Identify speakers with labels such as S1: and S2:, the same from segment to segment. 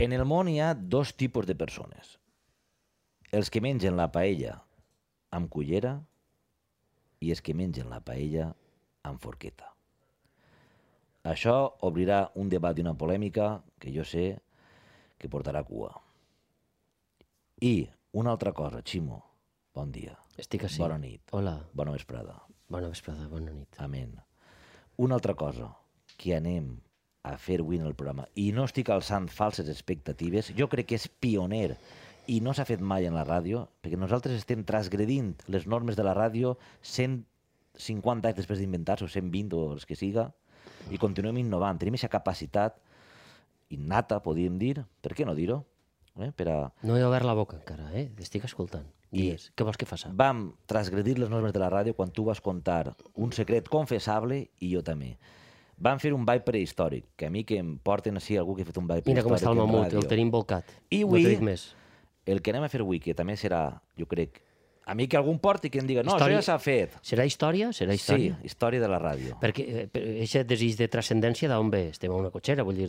S1: En el món hi ha dos tipus de persones. Els que mengen la paella amb cullera i els que mengen la paella amb forqueta. Això obrirà un debat i una polèmica que jo sé que portarà cua. I una altra cosa, Ximo, bon dia,
S2: Estic així.
S1: Bona nit.
S2: Hola.
S1: bona vesprada,
S2: Bona vesprada, bona nit.
S1: amén. Una altra cosa que anem a fer avui en el programa, i no estic alçant falses expectatives, jo crec que és pioner i no s'ha fet mai en la ràdio, perquè nosaltres estem transgredint les normes de la ràdio 150 anys després d'inventar-se, o 120 o els que siga, i continuem innovant. Tenim aquesta capacitat innata, podríem dir, per què no dir-ho? Eh? Per a...
S2: No he obert la boca encara, eh? T'estic escoltant. Digues, què vols que faci?
S1: Vam transgredir les normes de la ràdio quan tu vas contar un secret confessable i jo també. Vam fer un ball prehistòric, que a mi que em porten així algú que ha fet un ball
S2: Mira
S1: prehistòric
S2: com està el
S1: en
S2: mamut, el
S1: ràdio.
S2: tenim volcat.
S1: I
S2: no
S1: avui-
S2: t'ho dic més.
S1: El que anem a fer avui, que també serà, jo crec, a mi que algú em porti que em diga, no,
S2: Història-
S1: això ja s'ha fet.
S2: Serà història? Serà història?
S1: Sí, història de la ràdio.
S2: Perquè eh, per- eixe desig de transcendència d'on ve? Estem a una cotxera, vull dir,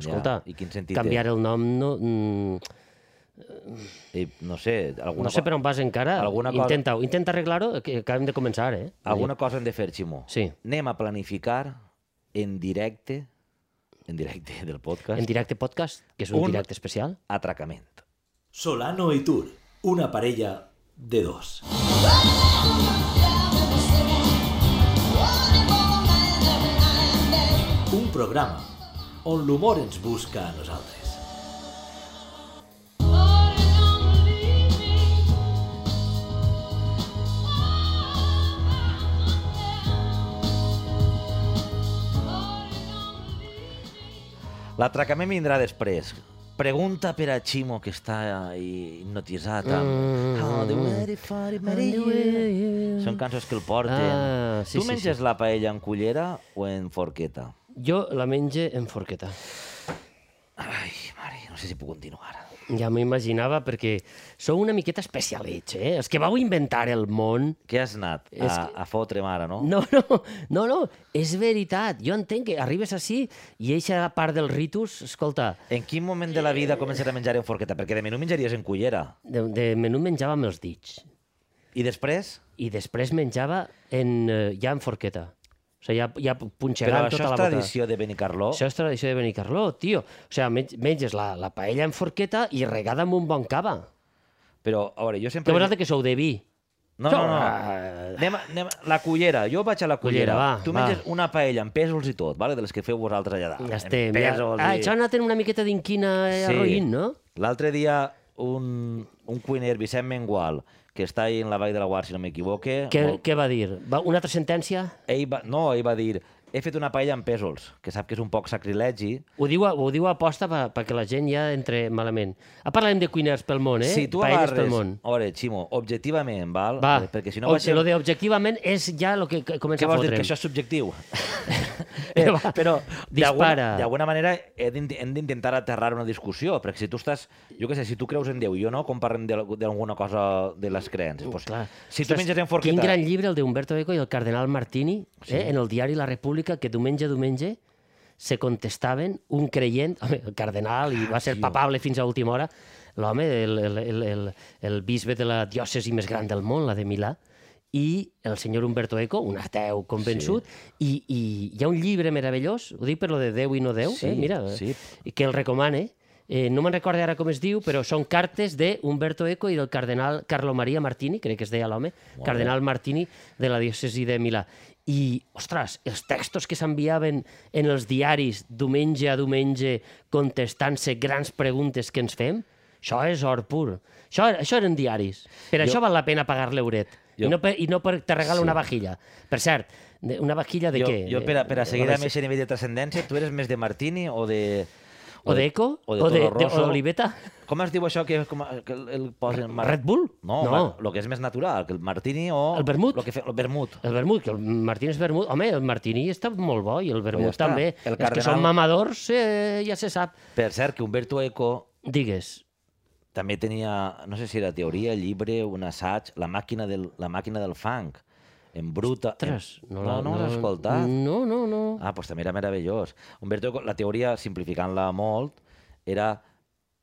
S1: Ja,
S2: escolta.
S1: i quin sentit té?
S2: Canviar el nom no... mm,
S1: I, no sé, alguna,
S2: No sé per on vas encara.
S1: alguna cosa- Ah,
S2: Intenta-ho, intenta arreglar-ho, que acabem de començar, eh?
S1: alguna cosa hem de fer, Ximó.
S2: Sí.
S1: Anem a planificar en directe, en directe del podcast,
S2: En directe podcast, que és un,
S1: Un-
S2: directe especial.
S1: atracament.
S3: Solano y Tour, una parella de dos. Un programa on l'humor ens busca a nosaltres.
S1: L'atracament vindrà després. Pregunta per a Ximo, que està ahí hipnotitzat amb...
S2: Mm,
S1: How the
S2: mm,
S1: weather for it, Mary Jane. Són cançons que el porten.
S2: Ah, sí,
S1: tu
S2: sí,
S1: menges la paella en cullera o en forqueta?
S2: Jo la menge en forqueta.
S1: Ai, mare, no sé si puc continuar.
S2: Ja m'ho imaginava perquè sou una miqueta especialets, eh? Els que vau inventar el món...
S1: Què has anat? A,
S2: És que-
S1: a fotre, mare, no?
S2: No, no, no, no, és veritat. Jo entenc que arribes així i eixa part del ritus, escolta,
S1: En quin moment de la
S2: Eh.
S1: vida comences a menjar en forqueta? Perquè de menú menjaries en cullera.
S2: de, de menú menjava amb els dits
S1: I després?
S2: i després menjava en, eh, ja en forqueta. O sigui, ja, ja
S1: Però
S2: punxegant
S1: això
S2: tota la
S1: és
S2: boca.
S1: tradició de Benicarló.
S2: Això és tradició de Benicarló, tio. O sigui, men- menges la, la paella en forqueta i regada amb un bon cava.
S1: Però, a veure, jo
S2: Que
S1: sempre...
S2: vosaltres que sou de vi.
S1: No, no, no.
S2: Ah.
S1: Anem, a, anem a... La cullera. Jo vaig a la cullera.
S2: Cullera, va,
S1: tu
S2: va.
S1: menges una paella amb pèsols i tot, vale? de les que feu vosaltres allà dalt.
S2: Ja estem.
S1: Amb
S2: Ja...
S1: pèsols
S2: Ah,
S1: i-
S2: això ha anat en una miqueta d'inquina sí. roïn, no?
S1: L'altre dia un, un cuiner, Vicent Mengual, que està ahí en la Vall de la Guard, si no m'equivoque,
S2: Què,
S1: molt-
S2: què va dir? Va, una altra sentència?
S1: ell va, no, ell va dir he fet una paella amb pèsols, que sap que és un poc sacrilegi.
S2: Ho diu, a- ho diu a aposta pa- perquè la gent ja entre malament. Ah, parlem de cuiners pel món, eh?
S1: Si tu
S2: Paelles
S1: agarres...
S2: pel món.
S1: A veure, Ximo, objectivament, val?
S2: Va,
S1: Eh, Perquè si no...
S2: o,
S1: baixem-
S2: lo de objectivament és ja el que que comença
S1: Què
S2: a
S1: vols dir?
S2: fotre.
S1: Que això és subjectiu?
S2: Eh,
S1: eh,
S2: va,
S1: però d'alguna
S2: dispara.
S1: d'alguna manera he d'int- hem d'intentar aterrar una discussió, perquè si tu estàs, jo què sé, si tu creus en Déu i jo no, com parlem de- d'alguna cosa de les creences. Pues,
S2: Uh, Clar.
S1: si tu
S2: Ostres,
S1: menges en forqueta...
S2: Quin gran llibre, el d'Humberto Eco i el cardenal Martini, sí. eh, en el diari La República, que diumenge a diumenge se contestaven un creient, home, el cardenal, i va ser papable fins a última hora, l'home, el, el, el, el, el bisbe de la diòcesi més gran del món, la de Milà, i el senyor Humberto Eco, un ateu convençut, sí. i, i hi ha un llibre meravellós, ho dic per lo de Déu i no Déu,
S1: Sí,
S2: eh? mira,
S1: sí.
S2: que el recomane. Eh, no me'n recordo ara com es diu, però són cartes de Humberto Eco i del cardenal Carlo Maria Martini, crec que es deia l'home, cardenal Martini de la diòcesi de Milà. I, ostres, els textos que s'enviaven en els diaris diumenge a diumenge contestant-se grans preguntes que ens fem, això és or pur. Això, això eren diaris. Per jo... això val la pena pagar l'euret.
S1: Jo-
S2: I no, per, I no per te regala sí. una vajilla. Per cert, de- una vajilla de
S1: jo,
S2: què?
S1: Jo, per a, per a
S2: Eh,
S1: seguir
S2: la
S1: amb aquest nivell de trascendència, tu eres més de Martini o de...
S2: O d'Eco?
S1: O de,
S2: O de-
S1: Toro
S2: de-
S1: Rosso?
S2: o d'Oliveta?
S1: Com es diu això que, com, que el, el posen... mar-
S2: Red Bull?
S1: No,
S2: No.
S1: el que és més natural, que el Martini o...
S2: El vermut?
S1: Lo que fe, el vermut.
S2: El vermut, que el Martini és vermut. Home, el Martini està molt bo i el vermut
S1: està.
S2: també.
S1: El
S2: Els que
S1: Cardenal-
S2: són mamadors eh, ja se sap.
S1: Per cert, que Humberto Eco
S2: Digues,
S1: també tenia, no sé si era teoria, llibre, un assaig, la màquina del, la màquina del funk, en bruta...
S2: tres.
S1: en... no, no, l'has
S2: Mm.
S1: escoltat?
S2: No, no, no.
S1: Ah, doncs també era meravellós. Humberto Eco, la teoria, simplificant-la molt, era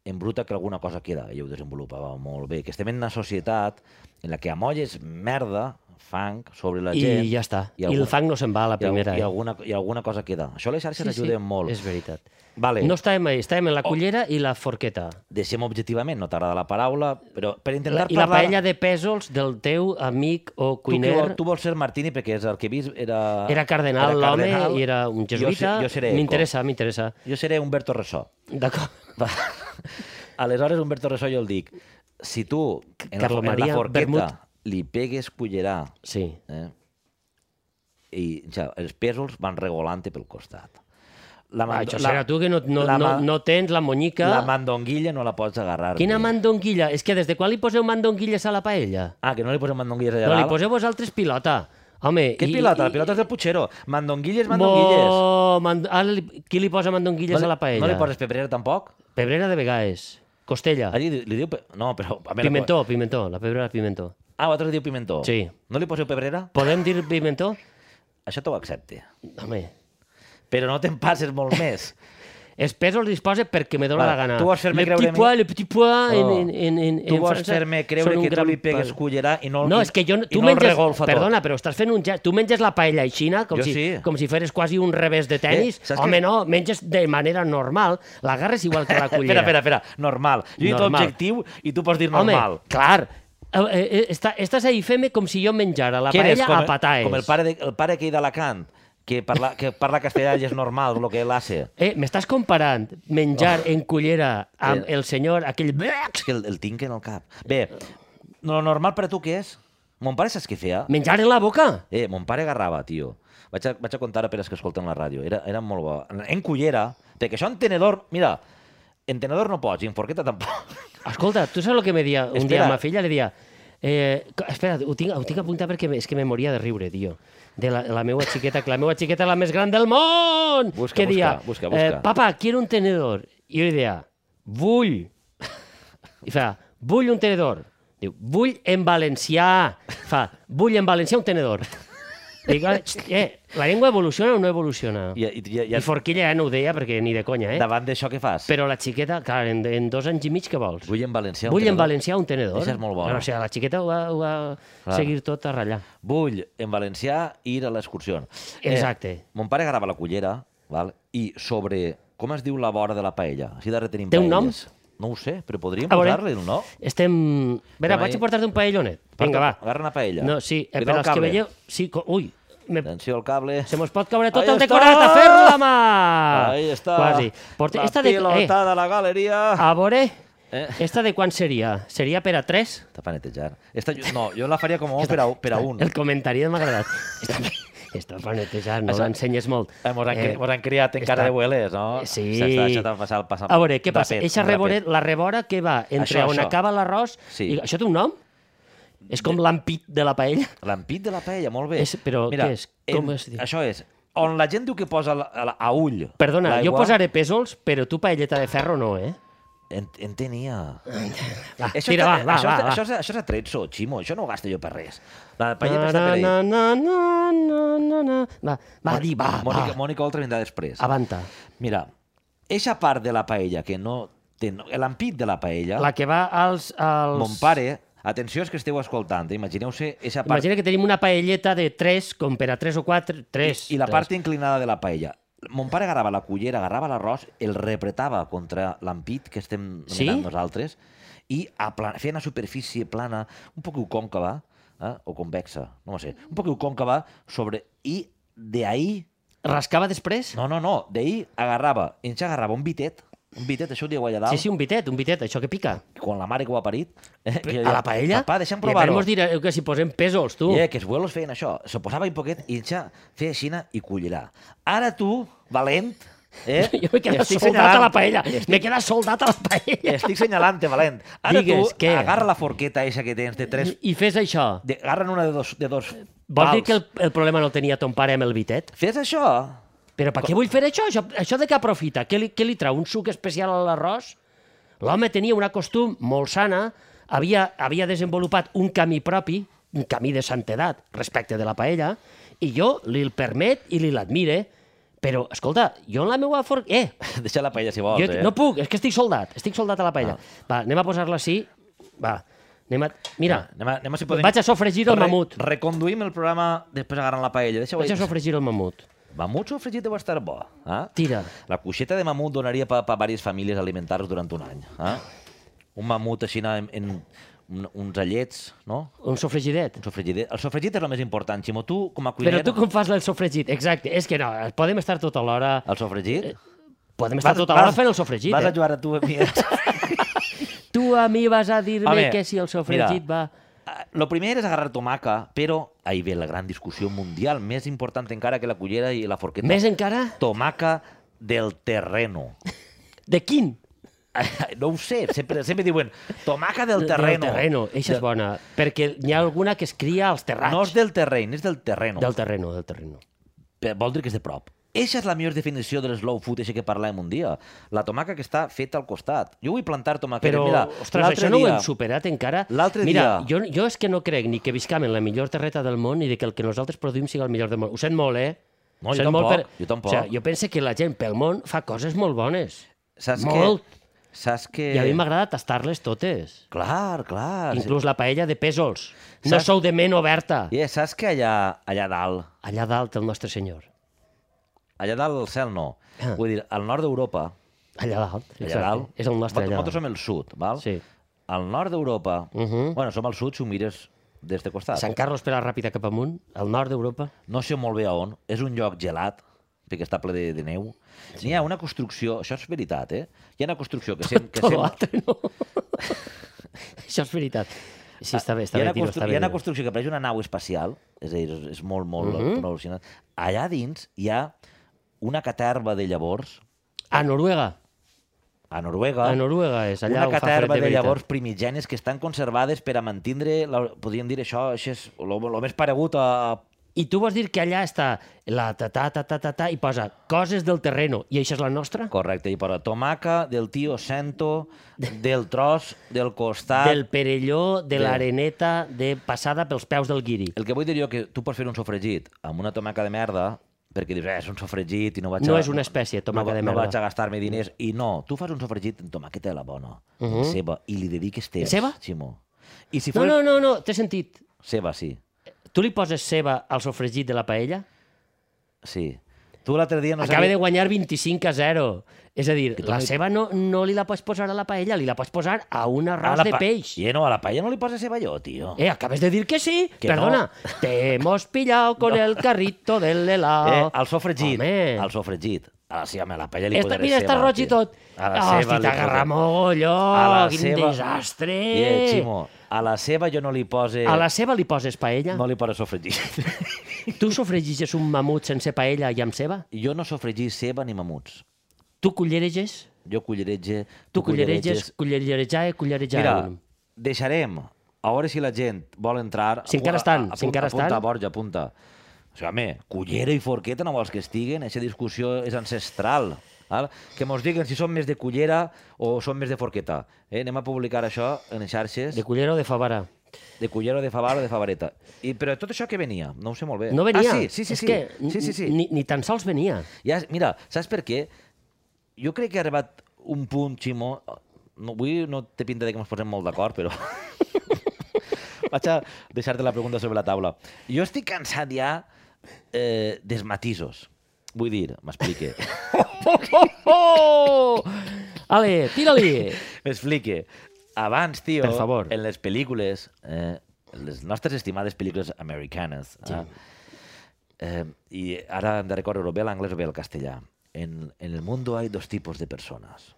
S1: en bruta que alguna cosa queda, ella ho desenvolupava molt bé, que estem en una societat en la que amolles merda, fang, sobre la
S2: I
S1: gent,
S2: ja està.
S1: I
S2: I,
S1: alguna-
S2: el fang no se'n va a la
S1: i, al-
S2: primera. eh?
S1: i, alguna, i alguna cosa queda. Això les xarxes ajuden molt.
S2: És veritat.
S1: Vale. Oh.
S2: No estàvem ahí, estàvem en la cullera i la forqueta.
S1: Deixem objectivament, no t'agrada la paraula, però per intentar
S2: I la
S1: parlar...
S2: paella de pèsols del teu amic o
S1: Tu, que,
S2: cuiner
S1: vol- tu vols ser Martini perquè és el que he vist era...
S2: era cardenal l'home
S1: cardenal.
S2: i era un
S1: Jo se-
S2: jesuïta.
S1: Jo, seré M'interessa.
S2: M'interessa, m'interessa.
S1: Jo seré Humberto Ressó.
S2: D'acord.
S1: Va. Aleshores, Humberto Ressó jo el dic, si tu en la,
S2: Carlo
S1: en la
S2: Maria
S1: forqueta
S2: Bermud.
S1: li pegues cullerà
S2: Sí.
S1: eh, i ja, els pèsols van regolant pel costat. La
S2: Ah,
S1: mando-
S2: això
S1: la-
S2: serà tu que no, no,
S1: la
S2: no,
S1: ma-
S2: no tens la monyica.
S1: La mandonguilla no la pots agarrar.
S2: Quina
S1: bé.
S2: mandonguilla? És que des de quan li poseu mandonguilles a la paella?
S1: Ah, que no li posem mandonguilles allà
S2: No, li
S1: dalt?
S2: poseu vosaltres pilota. Home,
S1: Què
S2: i-
S1: pilota?
S2: i-
S1: La pilota és del Puigceró. Mandonguilles, mandonguilles.
S2: Bo, mand... Ara, li- qui li posa mandonguilles
S1: no,
S2: a la paella?
S1: No li poses pebrera tampoc?
S2: Pebrera de vegades. Costella.
S1: Allí li diu... pe- No, però... A mi la-
S2: Ah. Pimentó, pimentó. La pebrera de pimentó.
S1: Ah, vosaltres li diu pimentó.
S2: Sí.
S1: No li poseu pebrera?
S2: Podem dir pimentó?
S1: Això t'ho accepte.
S2: Home,
S1: Però no te'n passes molt més.
S2: els pesos els disposa perquè me dóna
S1: Va,
S2: la gana.
S1: tu vols fer-me
S2: le
S1: creure a
S2: petit
S1: mi-
S2: pois, le petit pois,
S1: Oh.
S2: Ah, en, en, en, en,
S1: tu
S2: en
S1: vols
S2: França
S1: fer-me
S2: són
S1: creure
S2: un
S1: que tu
S2: gran
S1: li pegues
S2: pa-
S1: cullerà i no,
S2: No,
S1: i-
S2: és que jo,
S1: i
S2: tu
S1: no el
S2: menges...
S1: regolfa tot.
S2: Perdona, però estàs fent un gest. Tu menges la paella aixina com,
S1: Jo
S2: si,
S1: sí. Eh,
S2: com si feres quasi un revés de tennis.
S1: saps
S2: Home,
S1: que-
S2: no, menges de manera normal. L'agarres igual que la
S1: Eh, Espera,
S2: cullera.
S1: espera, espera. Normal. Jo he dit
S2: Normal.
S1: objectiu i tu pots dir
S2: Home,
S1: normal.
S2: clar. Eh, eh, està, estàs ahí fent-me com si jo menjara la
S1: Què eres,
S2: paella
S1: com,
S2: a pataes.
S1: Com el pare, de, el pare que hi d'Alacant, que parla, que parla castellà i és normal, el que ell hace.
S2: Eh, M'estàs comparant menjar
S1: Oh.
S2: en cullera amb el senyor aquell...
S1: És que el, el tinc en el cap. Bé, no, normal per a tu què és? Mon pare saps què feia?
S2: Menjar en la boca?
S1: Eh, mon pare agarrava, tio. Vaig a, vaig a contar a Peres que escolten la ràdio. Era, era molt bo. En- En cullera, perquè això en tenedor... Mira, en tenedor no pots, i en forqueta tampoc.
S2: Escolta, tu saps el que me dia un dia
S1: Espera.
S2: a ma filla? Li dia... Eh, co- espera, ho tinc, ho tinc apuntat perquè me- és que me moria de riure, tio. De la, la meva xiqueta, que la meva xiqueta és la més gran del món!
S1: Busca,
S2: que dia,
S1: busca, busca, busca.
S2: Eh, papa, quiero un tenedor. I jo li dia, vull. I fa, vull un tenedor. Diu, vull en valencià. Fa, vull en valencià un tenedor. Dic, eh, la llengua evoluciona o no evoluciona?
S1: I, i, i,
S2: I,
S1: i
S2: forquilla ja no ho deia perquè ni de conya, eh?
S1: davant d'això què fas?
S2: Però la xiqueta, clar, en, en dos anys i mig què vols?
S1: Vull en valencià. un
S2: Vull en
S1: tenedor.
S2: valencià un tenedor.
S1: Això és molt bo.
S2: Però, o sigui, la xiqueta ho va, ho va
S1: Clar.
S2: seguir tot a ratllar.
S1: Vull en valencià ir a l'excursió.
S2: Exacte.
S1: Eh, mon pare agarrava la cullera, val? i sobre... Com es diu la vora de la paella? Així de retenim
S2: Té un nom?
S1: paelles. No ho sé, però podríem
S2: A veure.
S1: posar-li un nom.
S2: Estem... Vera,
S1: Estem
S2: vaig
S1: ahí.
S2: a portar-te un paellonet. Vinga, va.
S1: eh, Agarra una paella.
S2: No, sí, eh,
S1: Cuidado el
S2: per als que
S1: cable.
S2: veieu... Sí, co... Ui, me...
S1: Atenció al cable.
S2: se mos pot caure tot
S1: Ahí
S2: el
S1: està!
S2: decorat a fer-ho la mà!
S1: Ahí està.
S2: Ah, Quasi. Porta...
S1: La
S2: Esta de... Ah. Eh,
S1: pilota de la galeria.
S2: a veure,
S1: Eh.
S2: esta de quan seria? Seria per a tres?
S1: Està per netejar. Esta, jo- no, jo la faria com un per a, per a un.
S2: El comentari m'ha agradat. Esta, esta és per netejar, no
S1: Això-
S2: l'ensenyes molt.
S1: Eh, mos, han, eh,
S2: Eh,
S1: mos han criat encara
S2: està-
S1: de hueles, no?
S2: Sí.
S1: S'està deixat passar el passat.
S2: A veure, què passa?
S1: Rapet,
S2: Eixa
S1: rapet.
S2: rebore, la rebora que va entre
S1: Això,
S2: on
S1: això.
S2: acaba l'arròs...
S1: Sí.
S2: I... Això té un nom? És com l'ampit de la paella?
S1: L'ampit de la paella, molt bé.
S2: És- però què és? Com es diu?
S1: Això és, on la gent diu que posa la, a la, a ull
S2: Perdona, jo
S1: l'aigua,
S2: posaré pèsols, però tu paelleta de ferro no, eh?
S1: En, en tenia.
S2: Va,
S1: Això,
S2: Ah, tira, va,
S1: està-
S2: va,
S1: això,
S2: va.
S1: està-
S2: va.
S1: Això, és, això és atrezzo, Ximo. Això no ho gasto jo per res. La paella
S2: Na,
S1: està per ahí.
S2: na, na, na, na, na, na. Va, va,
S1: Mònica-
S2: di, va,
S1: Mònica,
S2: va.
S1: Mònica Oltra vindrà després.
S2: Avanta.
S1: Mira, eixa part de la paella que no té... no- L'ampit de la paella,
S2: La que va als... als...
S1: mon pare... Atenció els que esteu escoltant, eh? imagineu-se eixa part...
S2: Imagina que tenim una paelleta de 3, com per a 3 o 4, 3.
S1: I la part inclinada de la paella. Mon pare agarrava la cullera, agarrava l'arròs, el repretava contra l'ampit que estem
S2: Sí?
S1: nomenant nosaltres i apla- feia una superfície plana, un poc còncava, eh? o convexa, no ho sé, un poc còncava sobre... I d'ahí
S2: Rascava després?
S1: No, no, no. D'ahir agarrava, ens agarrava un bitet, un bitet, això ho diu allà dalt,
S2: Sí, sí, un bitet, un bitet, això que pica.
S1: quan la mare que ho ha parit. Eh, que jo
S2: A
S1: deia,
S2: la paella?
S1: Papà, deixa'm
S2: I
S1: provar-ho.
S2: després mos direu que si posem pèsols, tu.
S1: I eh, que els vuelos feien això. Se posava un poquet i ja feia aixina i collirà. Ara tu, valent, eh?
S2: Jo m'he quedat
S1: estic
S2: soldat
S1: senyalant-
S2: a la paella. M'he quedat soldat a la paella.
S1: Estic senyalant-te, valent. Ara
S2: Digues,
S1: tu
S2: què?
S1: agarra la forqueta eixa que tens de tres...
S2: I fes això.
S1: De, agarra'n una de dos, de dos
S2: Vols dir
S1: pals.
S2: que el, el problema no el tenia ton pare amb el bitet?
S1: Fes això.
S2: Però per què vull fer això? Això, això de què aprofita? Què li, què li trau? Un suc especial a l'arròs? L'home tenia una costum molt sana, havia, havia desenvolupat un camí propi, un camí de santedat respecte de la paella, i jo li el permet i li l'admire, Però, escolta, jo en la meva for... Eh,
S1: Deixa la paella si vols,
S2: jo
S1: eh?
S2: no puc, és que estic soldat, estic soldat a la paella.
S1: Ah.
S2: Va, anem a posar-la així. Va, anem a... Mira,
S1: Anem a, anem a si podem...
S2: Vaig a sofregir el mamut.
S1: Reconduïm el programa després agarrant la paella. Deixa-ho
S2: vaig a
S1: ahí.
S2: sofregir el mamut.
S1: Mamut sofregit deu estar bo. Eh?
S2: Tira.
S1: La cuixeta de mamut donaria per pa, diverses famílies alimentar-se durant un any. Eh? Un mamut així en, en, un, uns allets, no?
S2: Un sofregidet.
S1: Un sofregit. El sofregit és el més important. Ximo, tu, com a
S2: Però
S1: cuiner...
S2: tu com fas el sofregit? Exacte, és que no, podem estar tota l'hora...
S1: El sofregit?
S2: Podem estar Eh, tota l'hora fent el sofregit,
S1: Vas a
S2: eh?
S1: jugar a tu, a mi.
S2: Tu a mi vas a dir-me
S1: Home,
S2: que si el sofregit
S1: mira,
S2: va...
S1: Ah, Lo primer és agarrar tomaca, però ahí ve la gran discussió mundial, més important encara que la cullera i la forqueta.
S2: Més encara?
S1: Tomaca del terreno.
S2: De quin?
S1: No ho sé, sempre, sempre diuen tomaca del terreno.
S2: Del terreno, eixa és bona. Perquè n'hi ha alguna que es cria als terrats.
S1: No és del terreny, és del terreno.
S2: Del terreno, del terreno.
S1: Pe- Vol dir que és de prop. Eixa és la millor definició de slow food, així que parlàvem un dia. La tomaca que està feta al costat. Jo vull plantar tomaquetes.
S2: Però,
S1: Mira,
S2: ostres,
S1: l'altre
S2: això no ho
S1: dia-
S2: hem superat encara.
S1: L'altre
S2: Mira,
S1: dia-
S2: jo, jo és que no crec ni que viscam en la millor terreta del món ni de que el que nosaltres produïm sigui el millor del món. Ho sent molt, eh?
S1: No,
S2: Ho
S1: jo
S2: sent
S1: tampoc, jo tampoc.
S2: O sigui, jo penso que la gent pel món fa coses molt bones.
S1: Saps
S2: Molt.
S1: Que, saps que...
S2: I a mi m'agrada tastar-les totes.
S1: Clar, clar. Eh. Ah, sí.
S2: Inclús la paella de pèsols. No
S1: Saps-
S2: sou de ment oberta.
S1: I eh, saps que allà, allà dalt,
S2: Allà dalt el nostre senyor.
S1: allà dalt al cel no.
S2: Ah.
S1: Vull dir, al nord d'Europa,
S2: Allà dalt.
S1: allà dalt...
S2: És el nostre allà
S1: Nosaltres
S2: dalt.
S1: som el sud, val?
S2: Sí.
S1: Al nord d'Europa...
S2: Mhm.
S1: Bueno, som al sud si ho mires des de costat.
S2: Sant Carlos per la Ràpita cap amunt, al nord d'Europa.
S1: No sé molt bé a on. És un lloc gelat, perquè està ple de, de neu. Sí. N'hi ha una construcció, això és veritat, eh? Hi ha una construcció que sent... Que
S2: Tot
S1: sent
S2: l'altre no. Això és veritat. Sí, està bé, està
S1: Ah, hi, ha
S2: bé,
S1: una
S2: tio, està
S1: constru... hi
S2: bé.
S1: ha una
S2: dir-ho.
S1: construcció que pareix una nau espacial, és a dir, és, és molt, molt,
S2: Mhm.
S1: molt al·lucinant. Allà dins hi ha una caterva de llavors,
S2: A Noruega.
S1: a Noruega,
S2: A Noruega és, allà
S1: una
S2: on fa fred
S1: caterva
S2: de,
S1: de,
S2: veritat.
S1: llavors primigènies que estan conservades per a mantenir, la, podríem dir això, això és el més paregut a...
S2: I tu vols dir que allà està la ta ta ta ta ta, ta i posa coses del terreno i això és la nostra?
S1: Correcte, i per a tomaca, del tio Sento, del tros, del costat...
S2: Del Perelló, de
S1: Del-
S2: l'areneta, de passada pels peus del guiri.
S1: El que vull dir jo que tu pots fer un sofregit amb una tomaca de merda perquè dius, eh, és un sofregit i no vaig
S2: No
S1: a...
S2: és una espècie, tomaca
S1: no, va-
S2: de
S1: No
S2: merda.
S1: vaig a gastar-me diners. I no, tu fas un sofregit amb tomaqueta de la bona, uh -huh. ceba, i li dediques temps,
S2: Ceba?
S1: Ximo. I si
S2: Mhm. No,
S1: fos...
S2: no, no, no, té sentit.
S1: Ceba, sí.
S2: Tu li poses ceba al sofregit de la paella?
S1: Sí. Tu l'altre dia no
S2: Acaba de
S1: sabia...
S2: guanyar 25 a 0. És a dir,
S1: tu
S2: la
S1: no hi-
S2: ceba no, no li la pots posar a la paella, li la pots posar a un
S1: A
S2: arròs
S1: la
S2: de
S1: pa-
S2: peix.
S1: I no, a la paella no li poses ceba jo, tio.
S2: Eh, acabes de dir que sí.
S1: Que
S2: Perdona. Te hemos pillado con el carrito del helado.
S1: Eh, al sofregit,
S2: ah, Home.
S1: al sofregit. A la, sí, home, a la paella li
S2: Esta,
S1: posaré
S2: mira, està
S1: ceba,
S2: roig
S1: tio.
S2: i tot.
S1: A la ceba
S2: Hosti,
S1: li
S2: t'agarra
S1: posaré-
S2: mogolló.
S1: A la
S2: Quin
S1: ceba-
S2: desastre.
S1: Eh, Ximo, eh. a la ceba jo no li pose...
S2: A la ceba li poses paella?
S1: No li pose sofregit.
S2: Tu sofregiges un mamut sense paella i amb ceba?
S1: Jo no sofregir ceba ni mamuts.
S2: Tu cullereges?
S1: Jo cullerege...
S2: Tu cullereges, cullerejar, cullerejar.
S1: Mira, deixarem, a veure si la gent vol entrar...
S2: Si encara
S1: Apu-
S2: estan,
S1: a-
S2: si encara
S1: apunta,
S2: estan.
S1: Borja, apunta. O sigui, home, cullera i forqueta no vols que estiguen? Aquesta discussió és ancestral. Val? Que mos diguen si són més de cullera o són més de forqueta. Eh? Anem a publicar això en les xarxes
S2: De
S1: de,
S2: cullera o de favara?
S1: de cullera, de favar o de favareta. I, però tot això que venia? No ho sé molt bé.
S2: No venia.
S1: Ah, sí, sí, sí.
S2: És
S1: sí.
S2: que
S1: sí, sí, sí.
S2: Ni, ni tan sols venia.
S1: Ja, mira, saps per què? Jo crec que ha arribat un punt, Ximo... No, avui no té pinta de que ens posem molt d'acord, però... Vaig a deixar-te la pregunta sobre la taula. Jo estic cansat ja eh, dels matisos. Vull dir, m'explique.
S2: Oh, oh! Ale, tira-li!
S1: m'explique. Abans, tio,
S2: Per favor.
S1: en les pel·lícules, eh, les nostres estimades pel·lícules americanes, sí. eh, Eh, y ahora hem de recórrer o bé a l'anglès o bé al castellà. En, en el mundo hay dos tipos de personas.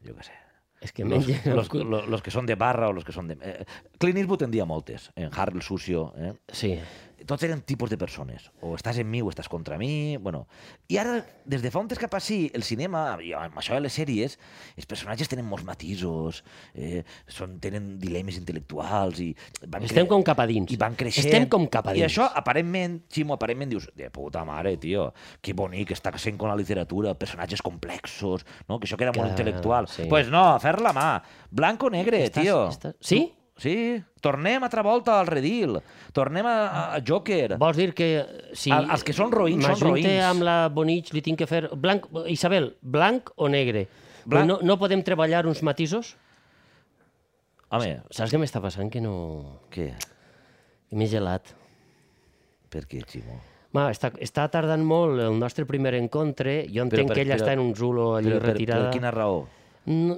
S1: Yo qué sé.
S2: És que
S1: Los,
S2: menja...
S1: los, lo- los que son de barra o los que son de... Eh, Clint Eastwood en dia moltes. En Harry el Sucio. Eh?
S2: Sí.
S1: Tots eren tipus de persones. O estàs en mi o estàs contra mi. Bueno. I ara, des de fa un temps cap així, el cinema, i amb això de les sèries, els personatges tenen molts matisos, eh, són, tenen dilemes intel·lectuals i... Van
S2: Estem
S1: cre-
S2: com cap a dins.
S1: i van creixent.
S2: Estem com cap a
S1: I
S2: dins.
S1: això, aparentment, Ximo, aparentment dius, de puta mare, tio, que bonic està sent com la literatura, personatges complexos, no? que això que era molt
S2: Clar,
S1: intel·lectual.
S2: sí.
S1: Pues no, a fer la mà. Blanco negre,
S2: Estàs-
S1: tio.
S2: estàs- Sí?
S1: Tu- Sí, tornem altra volta al redil. Tornem a, a Joker.
S2: Vols dir que si...
S1: El- els que són roïns són
S2: m'ajunte
S1: roïns.
S2: amb la Bonich, li tinc que fer... Blanc... Isabel, blanc o negre?
S1: Blanc.
S2: No, no podem treballar uns matisos?
S1: Home,
S2: Saps què m'està passant? Que no...
S1: què?
S2: que M'he gelat.
S1: Per què, Ximo?
S2: Ma, està, està tardant molt el nostre primer encontre. Jo entenc
S1: per-
S2: que ella
S1: però-
S2: està en un zulo allà
S1: Però per, per
S2: retirada.
S1: quina raó?
S2: No,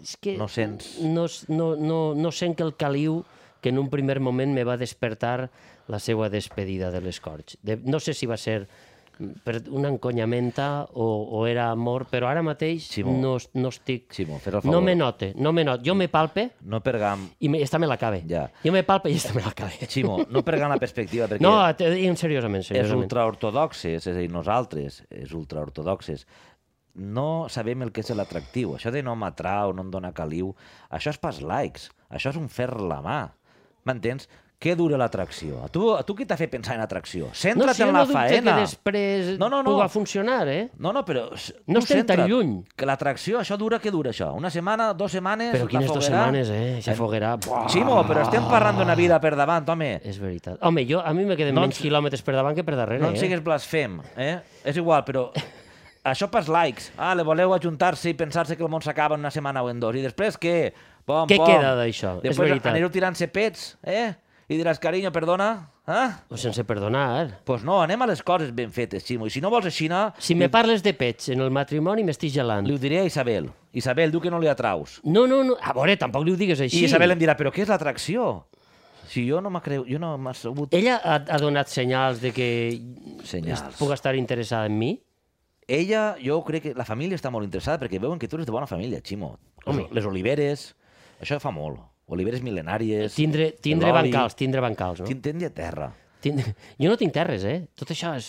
S2: és que
S1: No sents.
S2: No, s- no, no, no sent que el caliu que en un primer moment me va despertar la seva despedida de l'escorx. De, no sé si va ser mm, per una enconyamenta o, o era amor, però ara mateix
S1: Simó.
S2: no, es- no estic...
S1: Simó, fes el
S2: no
S1: favor.
S2: me note, no me note. Jo me palpe
S1: No pergam...
S2: i me, esta me l'acabe.
S1: Ja.
S2: Jo me palpe i esta me l'acabe.
S1: Ximo, no pergam la perspectiva, perquè...
S2: No, te- en seriosament,
S1: els
S2: seriosament.
S1: ultraortodoxes, és a dir, nosaltres, els ultraortodoxes, no sabem el que és l'atractiu. Això de no m'atrau, no em dona caliu, això és pas likes, això és un fer la mà. M'entens? Què dura l'atracció? A tu, a tu què t'ha fet pensar en atracció?
S2: No,
S1: Centra't
S2: si jo
S1: en la
S2: no dubte
S1: faena.
S2: que després
S1: No, no, no.
S2: puga funcionar, eh?
S1: No, no, però... s-
S2: No
S1: tu
S2: estem tan
S1: centra't.
S2: lluny.
S1: Que l'atracció, això dura, què dura això? Una setmana, dues setmanes?
S2: Però
S1: la
S2: quines dues
S1: foguera?
S2: setmanes, eh? Això foguerà... Buah.
S1: Ximo, però estem parlant d'una vida per davant, home.
S2: És veritat. Home, jo, a mi me queden
S1: No
S2: menys quilòmetres per davant que per darrere,
S1: No en
S2: eh?
S1: siguis blasfem, eh? És igual, però... Això pels likes. Ah, le voleu ajuntar-se i pensar-se que el món s'acaba en una setmana o en dos. I després què? Pom,
S2: Què
S1: pom.
S2: queda d'això? És
S1: Després
S2: veritat.
S1: anireu tirant-se pets, eh? I diràs, carinyo, perdona, eh?
S2: O sense perdonar.
S1: Pues no, anem a les coses ben fetes, Ximo. I si no vols així, li
S2: Si me parles de pets en el matrimoni, m'estic gelant.
S1: ho diré a Isabel. Isabel, diu que no li atraus.
S2: No, no, no. A veure, tampoc li ho digues així.
S1: I Isabel em dirà, però què és l'atracció? Si jo no m'ha creu... Jo no m'ha sabut...
S2: Ella ha, ha donat senyals de que
S1: Senyals.
S2: es- puga estar interessada en mi?
S1: Ella, jo crec que la família està molt interessada perquè veuen que tu eres de bona família, Ximo.
S2: Home.
S1: Home. Les oliveres, això fa molt. Oliveres mil·lenàries.
S2: Tindre, tindre
S1: l'oli,
S2: bancals, tindre bancals, no?
S1: tin- Tindre a terra.
S2: Tindre... Jo no tinc terres, eh? Tot això és...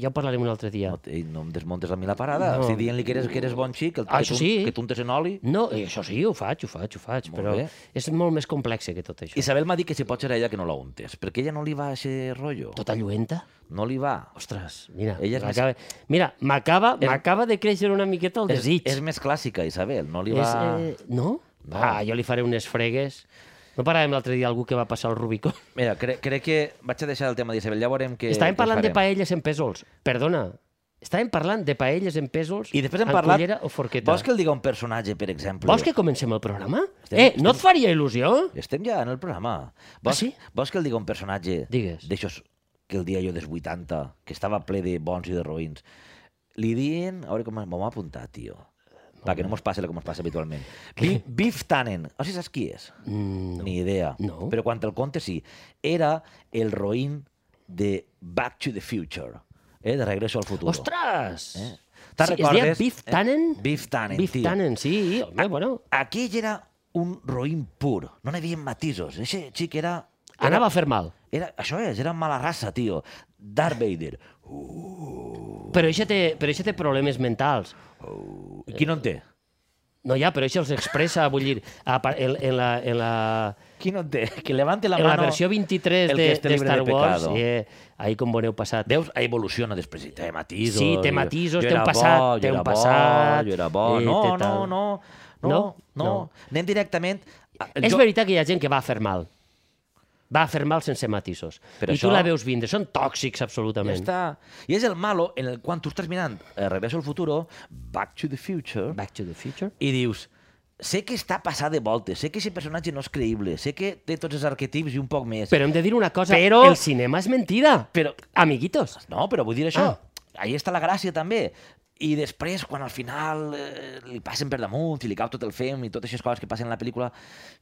S2: ja ho parlarem un altre dia.
S1: No, t- no em desmontes a mi la parada.
S2: No.
S1: No. Estic dient-li que eres, que eres bon xic, que, el- que,
S2: Ah, això
S1: tu,
S2: sí.
S1: que tu untes en oli.
S2: No, i això sí, ho faig, ho faig, ho faig,
S1: Molt
S2: però
S1: bé.
S2: és molt més complex que tot això.
S1: Isabel m'ha dit que si pot ser a ella que no la untes, perquè ella no li va a ese rotllo.
S2: Tota lluenta?
S1: No li va.
S2: Ostres, mira,
S1: Ella és
S2: m'acaba- mira, m'acaba m'acaba de créixer una miqueta el
S1: És,
S2: desig.
S1: és més clàssica, Isabel. No li va...
S2: És, eh, no? no? Ah, jo li faré unes fregues. No paràvem l'altre dia algú que va passar el Rubicó.
S1: Mira, cre crec que vaig a deixar el tema d'Isabel. Ja veurem què
S2: Estàvem
S1: què
S2: parlant de
S1: farem.
S2: paelles en pèsols. Perdona. Estàvem parlant de paelles en pèsols
S1: I després hem
S2: amb
S1: parlat...
S2: cullera o forqueta.
S1: Vols que el diga un personatge, per exemple?
S2: Vols que comencem el programa?
S1: Estem-
S2: eh, no et faria il·lusió?
S1: Estem ja en el programa. Vols,
S2: Ah, sí?
S1: vols que el digui un personatge
S2: Digues.
S1: d'aixòs que el dia jo dels 80, que estava ple de bons i de roïns, li diuen... A veure com m'ho ha apuntat, tio.
S2: Eh,
S1: Va, que no mos passa el que mos passa habitualment. Bi- Biff Tannen. O sigui, saps qui és?
S2: Mm,
S1: Ni idea.
S2: No.
S1: Però quan te'l conte, sí. Era el roïn de Back to the Future. Eh? De Regreso al Futuro.
S2: ostres!
S1: Eh? Te'n
S2: Sí, es deia
S1: recordes?
S2: Biff
S1: Eh?
S2: Tannen?
S1: Biff Tannen,
S2: Biff
S1: tio. Ah.
S2: Tannen, sí. Home, bueno.
S1: Aquell era un roïn pur. No n'hi havia matisos. Aquest xic era...
S2: Anava a fer mal.
S1: Era, això és, era mala raça, tio. Darth Vader.
S2: Però això té, però això té problemes mentals.
S1: I qui no en té?
S2: No, ja, però això els expressa, vull dir, a, par- en, en, la, en, la,
S1: Qui no en té? Que levante la
S2: en la
S1: mano...
S2: versió 23
S1: el
S2: de,
S1: que esté
S2: de
S1: libre
S2: Star
S1: de
S2: Wars,
S1: pecado.
S2: eh, ahí com boneu passat.
S1: Veus, ah, evoluciona després. i Té matisos.
S2: Sí, té
S1: jo-
S2: matisos,
S1: jo
S2: té un
S1: era
S2: passat,
S1: bo, jo
S2: té un
S1: era bo,
S2: passat,
S1: Jo era bo.
S2: eh,
S1: No,
S2: té
S1: no,
S2: tal.
S1: no, no, no,
S2: No?
S1: no.
S2: No.
S1: Anem directament... a-
S2: És veritat que hi ha gent que va a fer mal. Va a fer mal sense matisos.
S1: Però
S2: I tu
S1: això-
S2: la veus vindre. Són tòxics,
S1: Ja
S2: absolutament.
S1: està. I és el malo en el quan tu estàs mirant eh, Regreso al futuro, Back to the Future,
S2: Back to the future.
S1: i dius sé que està passat de voltes, sé que aquest personatge no és creïble, sé que té tots els arquetips i un poc més.
S2: Però hem de dir una cosa.
S1: Però-
S2: El cinema és mentida.
S1: Però-
S2: Amiguitos.
S1: No, però vull dir això. Ah. Ahí està la gràcia, també. I després, quan al final eh, li passen per damunt i li cau tot el fem i totes aquestes coses que passen en la pel·lícula,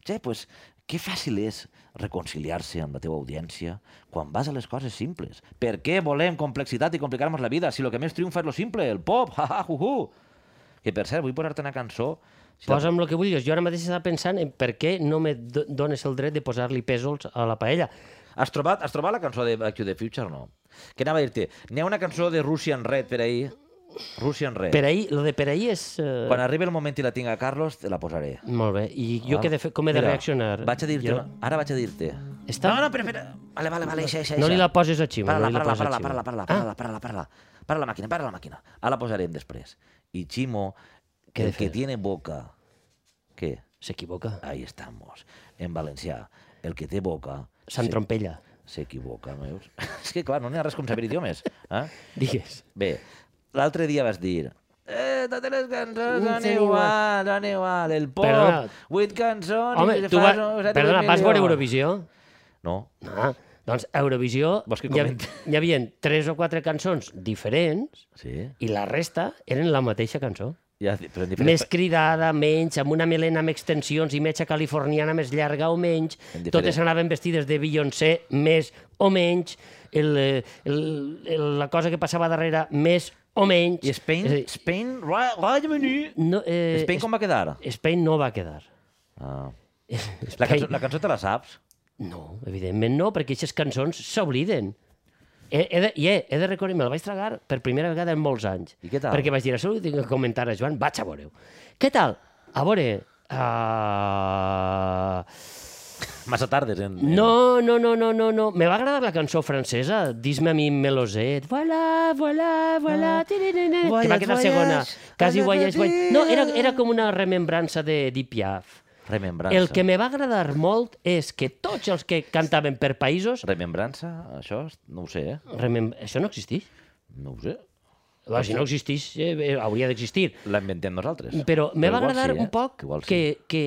S1: ja, pues, que fàcil és reconciliar-se amb la teva audiència quan vas a les coses simples. Per què volem complexitat i complicar-nos la vida si el que més triomfa és lo simple, el pop, ha, ha, hu, hu. Que, per cert, vull posar-te una cançó... Si la-
S2: Posa'm el que vulguis. Jo ara mateix estava pensant en per què no me do- dones el dret de posar-li pèsols a la paella.
S1: Has trobat, has trobat la cançó de Back to the Future o no? Que anava a dir-te, n'hi ha una cançó de Russian Red per ahir, Russian Red.
S2: Per ahir, lo de per ahir és... Eh...
S1: Quan arribi el moment i la tinga Carlos, te la posaré.
S2: Molt bé. I jo què he de fer, com he de
S1: Ah, Mira,
S2: reaccionar?
S1: Vaig a dir-te,
S2: Jo-
S1: una- ara vaig a dir-te.
S2: Està-
S1: No, no, però, espera. Vale, vale, vale, eixa, eixa,
S2: No
S1: eixa.
S2: li la poses a Ximo.
S1: Para-la,
S2: no li la
S1: para-la,
S2: poses a
S1: para-la,
S2: Ximo.
S1: para-la,
S2: Ah,
S1: para-la, para-la, para-la, para-la. Para la màquina, para la màquina. Ara la posarem després. I Ximo,
S2: Què he
S1: el
S2: de fer?
S1: que tiene boca... Què?
S2: S'equivoca.
S1: Ahí estamos. En valencià, el que té boca...
S2: S'entrompella.
S1: S'equivoca, no veus? És que, clar, no n'hi ha res com saber idiomes. Eh?
S2: Digues.
S1: Bé, l'altre dia vas dir... Eh, totes les cançons
S2: Mm,
S1: són
S2: són
S1: igual, són igual, el pop,
S2: Perdona.
S1: vuit cançons...
S2: Home,
S1: i
S2: tu
S1: fas
S2: va...
S1: un- setanta
S2: Perdona, vas
S1: milions.
S2: veure Eurovisió?
S1: No,
S2: No. Doncs a Eurovisió
S1: Vols que
S2: hi, ha-
S1: comenti?
S2: hi havia tres o quatre cançons diferents
S1: sí,
S2: i la resta eren la mateixa cançó.
S1: ja, però en diferents,
S2: Més cridada, menys, amb una melena amb extensions i metxa californiana més llarga o menys.
S1: En diferent.
S2: Totes anaven vestides de Beyoncé, més o menys. El, eh, el, el, la cosa que passava darrere, més o menys.
S1: I Spain,
S2: És a dir,
S1: Spain, Ra- Regne Unit.
S2: No, eh,
S1: Spain com va quedar?
S2: Spain no va quedar.
S1: Ah. La,
S2: Spain,
S1: cançó, la cançó te la saps?
S2: No, evidentment no, perquè aquestes cançons s'obliden. He, he, de, i he, he de recordar, me'l vaig tragar per primera vegada en molts anys.
S1: I què tal?
S2: Perquè vaig dir, això ho tinc que comentar a Joan, vaig a veure-ho. Què tal? A veure... eh, Uh...
S1: Massa tardes. En, eh, en-
S2: No, no, no, no, no, no. Me va agradar la cançó francesa. Dis-me a mi Meloset. Voilà, voilà, voilà. Ah, que va
S1: Voyage,
S2: quedar segona.
S1: voyage,
S2: Quasi
S1: voyage,
S2: guaies, guaies.
S1: voyage.
S2: No, era, era com una remembrança de Edith Piaf.
S1: Remembrança.
S2: El que me va agradar molt és que tots els que cantaven per països...
S1: Remembrança, això, no ho sé, eh?
S2: Remem... Això no existeix?
S1: No ho sé.
S2: Va, si no existeix, eh, eh, hauria d'existir.
S1: La inventem nosaltres.
S2: Però me va
S1: igual
S2: agradar
S1: sí, eh?
S2: un poc
S1: Igual sí.
S2: que, que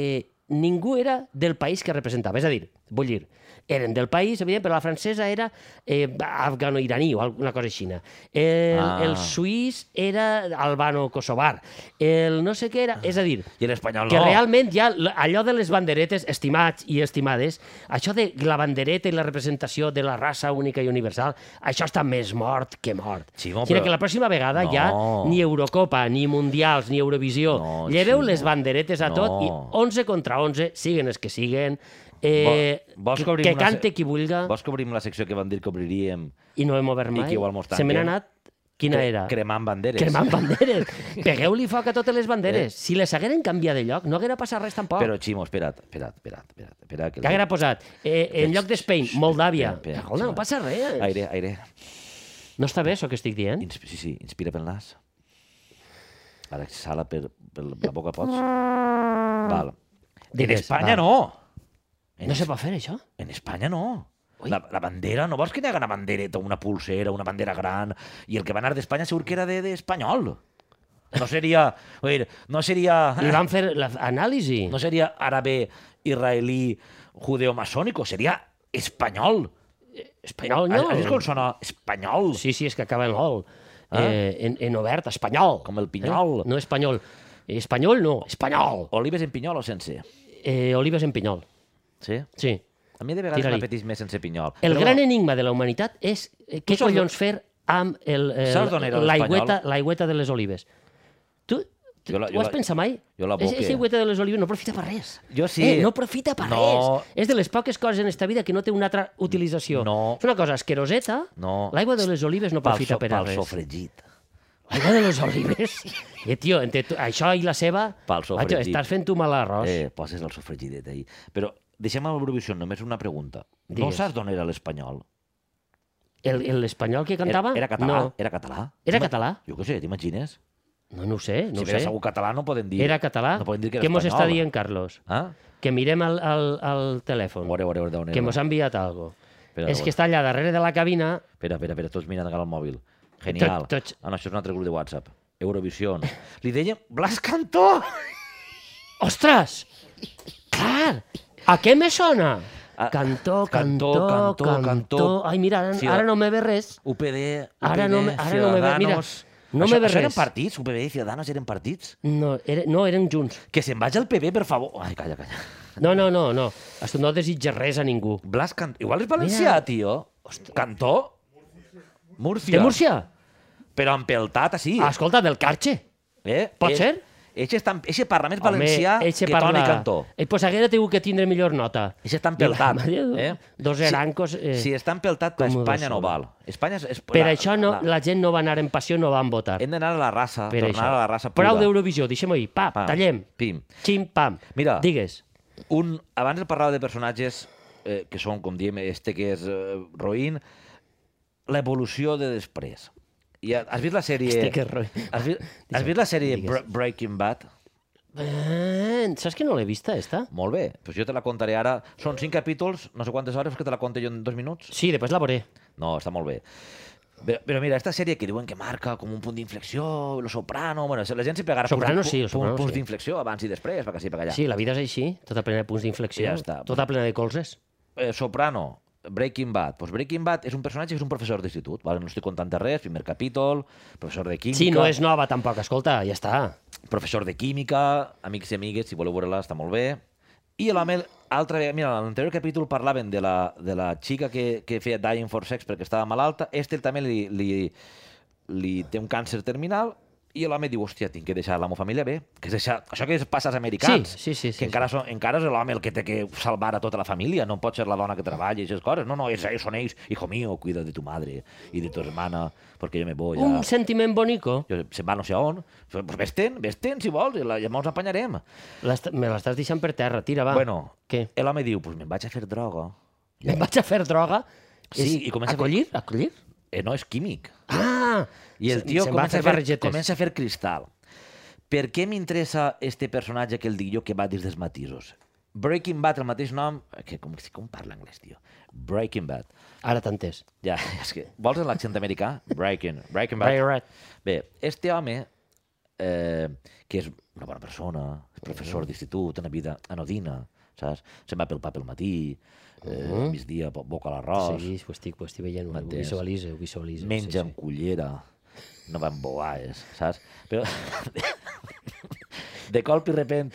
S2: ningú era del país que representava. És a dir, vull dir, eren del país, evident, però la francesa era eh, afgano-iraní o alguna cosa així. El,
S1: Ah.
S2: el suís era albano-kosovar. El no sé què
S1: Ah.
S2: era... És a dir,
S1: I l'espanyol no.
S2: que realment ja l- allò de les banderetes, estimats i estimades, això de la bandereta i la representació de la raça única i universal, això està més mort que mort.
S1: Ximo,
S2: Sinó
S1: però-
S2: que la pròxima vegada
S1: No.
S2: ja ni Eurocopa, ni Mundials, ni Eurovisió.
S1: No,
S2: Lleveu
S1: Ximo.
S2: les banderetes a tot i
S1: No.
S2: 11 contra 11, siguen els que siguen, eh,
S1: Vol- vols
S2: que,
S1: que obrim
S2: que
S1: una se-
S2: cante qui vulga,
S1: Vols que obrim la secció que van dir que obriríem
S2: i no hem
S1: i
S2: obert mai.
S1: que igual mos
S2: Se me n'ha
S1: tanquen?
S2: anat... Quina era?
S1: cremant banderes?
S2: Cremant banderes. Pegueu-li foc a totes les banderes. Si les hagueren canviat de lloc, no haguera passat res tampoc.
S1: Eh? Però, Ximo, espera't, espera't, espera't. espera't, espera't que
S2: Què haguera posat? Eh, en lloc de Spain, Moldàvia.
S1: Espera, espera,
S2: Hola,
S1: espera.
S2: no passa res.
S1: Aire, aire.
S2: No està bé això que estic dient?
S1: Inspi sí, sí, inspira pel nas. Ara exhala per, per la boca, pots? Val. en
S2: Digues,
S1: Espanya
S2: va.
S1: no! En,
S2: No se pot fer això?
S1: en Espanya no!
S2: Ui.
S1: La, la bandera, no vols que n'hi haga una bandereta, una pulsera, una bandera gran? I el que va anar d'Espanya segur que era de- d'espanyol. De, no seria... Vull dir, no seria...
S2: Li van fer l'anàlisi.
S1: Ah. no sería árabe, israelí, judeo-masónico, sería español.
S2: Espanyol,
S1: ¿Has vist com
S2: no.
S1: sona espanyol?
S2: Sí, sí, és que acaba en ol. Eh, en, en obert, espanyol.
S1: Ah. Com el pinyol.
S2: Eh? No, espanyol. Espanyol no, espanyol.
S1: Olives en pinyol o sense?
S2: Eh, olives en pinyol,
S1: Sí?
S2: sí.
S1: A mi de vegades
S2: Tira-li.
S1: m'apeteix més sense pinyol.
S2: El
S1: Però
S2: gran
S1: bueno,
S2: enigma de la humanitat és eh, què
S1: saps d'on-
S2: collons fer amb el, eh,
S1: Saps d'on era
S2: l'aigüeta
S1: l'espanyol?
S2: l'aigüeta de les olives. Tu, tu,
S1: Jo la-
S2: tu
S1: jo
S2: ho has
S1: la-
S2: pensat mai?
S1: jo la
S2: És,
S1: boque.
S2: és l'aigüeta de les olives no aprofita per res.
S1: Jo sí.
S2: Eh, no aprofita per
S1: No.
S2: res. És de les poques coses en esta vida que no té una altra utilització.
S1: No.
S2: És una cosa asqueroseta.
S1: No.
S2: L'aigua de les olives no
S1: pel so-
S2: aprofita per a
S1: Pel
S2: res.
S1: sofregit.
S2: L'aigua de les olives? eh, tio, entre tu, això i la seva...
S1: Pel sofregit.
S2: Vaja, estàs fent tu mal a l'arròs.
S1: Eh, poses el sofregidet ahí. Però deixem a l'Eurovisió només una pregunta. No
S2: Digues.
S1: saps d'on era l'espanyol?
S2: El- el- L'espanyol que
S1: Era,
S2: cantava?
S1: era català?
S2: No.
S1: Era català?
S2: Era
S1: T'ima-
S2: català?
S1: Jo què sé, t'imagines?
S2: No, no ho sé.
S1: si
S2: No ho sé.
S1: era segur català no poden dir...
S2: Era català?
S1: No poden dir que era
S2: Què mos està
S1: espanyol.
S2: dient, Carlos?
S1: Ah?
S2: Que mirem el, el, el telèfon.
S1: Veure, veure, veure d'on era.
S2: Que mos ha enviat algo.
S1: Espera,
S2: és
S1: veure.
S2: que està allà darrere de la cabina.
S1: Espera, espera, espera, tots mirant cap al mòbil. Genial.
S2: Tot- tots-
S1: Ah, no, això és un altre grup de WhatsApp. Eurovisió. Li deia Blas Cantó!
S2: Ostres! Clar! A què me sona?
S1: A-
S2: Cantó, cantó,
S1: Cantó,
S2: cantó,
S1: cantó, cantó.
S2: Ai, mira, ara,
S1: Sí,
S2: ara
S1: la-
S2: no me ve res.
S1: UPD,
S2: Ara
S1: UPD,
S2: no me- ara no me ve- mira,
S1: Ciudadanos.
S2: no
S1: això,
S2: me ve
S1: això eren
S2: res.
S1: partits? UPD i Ciudadanos eren partits?
S2: No, era, no, eren junts.
S1: Que se'n vagi al PB, per favor. Ai, calla, calla.
S2: No, no, no, no. Això no desitja res a ningú.
S1: Blas Cantó. Igual és valencià,
S2: Mira.
S1: tio. Cantó? Múrcia.
S2: De Múrcia?
S1: Però empeltat, així.
S2: Escolta, del Carxe.
S1: Eh?
S2: pot
S1: Eh,
S2: ser?
S1: Eixe, està, eixe parla més valencià
S2: Home, eixe
S1: que Toni Cantó.
S2: Eh, pues haguera tingut que tindre millor nota.
S1: Això està empeltat.
S2: Mare de Déu,
S1: Eh?
S2: Dos erancos... Eh,
S1: Si, si està empeltat,
S2: com ho
S1: Espanya no
S2: desona.
S1: val. Espanya és, és,
S2: per això no, la gent no va anar en passió, no van votar.
S1: Hem d'anar a la raça,
S2: Per
S1: tornar
S2: això.
S1: a la raça pura.
S2: Prou d'Eurovisió, deixem-ho ahir. Pa,
S1: Pam,
S2: tallem.
S1: Pim.
S2: Xim, pam.
S1: Mira.
S2: Digues.
S1: Un, abans parlava de personatges eh, que són, com diem, este que és eh, roïn, l'evolució de després. I ha- has vist la sèrie...
S2: Este que és roïn.
S1: Has vist, has vist la sèrie Bra Breaking Bad?
S2: Eh, en... Saps que no l'he vista, esta?
S1: Molt bé, doncs jo te la contaré ara. Són cinc capítols, no sé quantes hores, que te la conto jo en dos minuts.
S2: Sí, després la veuré.
S1: No, està molt bé. Però, però mira, esta sèrie que diuen que marca com un punt d'inflexió, Lo Soprano... Bueno, la gent sempre agarra
S2: Soprano
S1: punts,
S2: sí, Lo
S1: punts-
S2: Soprano
S1: punts
S2: sí.
S1: d'inflexió abans i després, perquè sí, perquè allà.
S2: Sí, la vida és així, tota plena de punts d'inflexió,
S1: Ja està.
S2: tota plena de colzes.
S1: eh, Soprano, Breaking Bad. Pues Breaking Bad és un personatge que és un professor d'institut, ¿vale? no estic contant de res, primer capítol, professor de química,
S2: Sí, no és nova tampoc, escolta, ja està.
S1: professor de química, amics i amigues, si voleu veure-la, està molt bé. I la mel, altra vegada, mira, en l'anterior capítol parlaven de la, de la xica que, que feia Dying for Sex perquè estava malalta, este també li, li, li té un càncer terminal i l'home diu, hòstia, tinc que deixar la meva família bé, que és deixar... això que es passa als americans,
S2: Sí, sí, sí, sí,
S1: que encara, són, encara és l'home el que té que salvar a tota la família, no pot ser la dona que treballa i aquestes coses, no, no, és, ells són ells, hijo mío, cuida de tu madre i de tu hermana, perquè jo me voy a...
S2: Un sentiment bonico.
S1: Jo, se'n va no sé on. Pues vés-te'n, vés-te'n, si vols, i la, llavors apanyarem.
S2: L'est- Me l'estàs deixant per terra, tira, va.
S1: Bueno,
S2: Què?
S1: l'home diu, pues me'n vaig a fer droga.
S2: Em vaig a fer droga?
S1: Sí,
S2: És
S1: i comença a fer-
S2: Acollir? Acollir?
S1: Eh, no, és químic.
S2: Ah!
S1: I el
S2: Se-
S1: tio
S2: se'n va
S1: comença a,
S2: fer
S1: fer,
S2: barregetes.
S1: comença a fer cristal. Per què m'interessa este personatge que el dic jo que va des dels matisos? Breaking Bad, el mateix nom... eh, Que com, com parla anglès, tio? Breaking Bad.
S2: Ara t'entès.
S1: Ja, és que... Vols l'accent americà? Breaking, Breaking Bad.
S2: Right, right.
S1: Bé, este home, eh, que és una bona persona, és
S2: Mm.
S1: professor d'institut, una vida anodina, saps? Se'n va pel pa pel matí, eh, migdia, bo- boca a l'arròs,
S2: Mm. Sí, ho estic, ho estic veient, ho, ho
S1: M'entens.
S2: visualitzo, ho visualitzo.
S1: menja
S2: Sí,
S1: amb cullera, no va amb boaes, saps? Però de colp i repent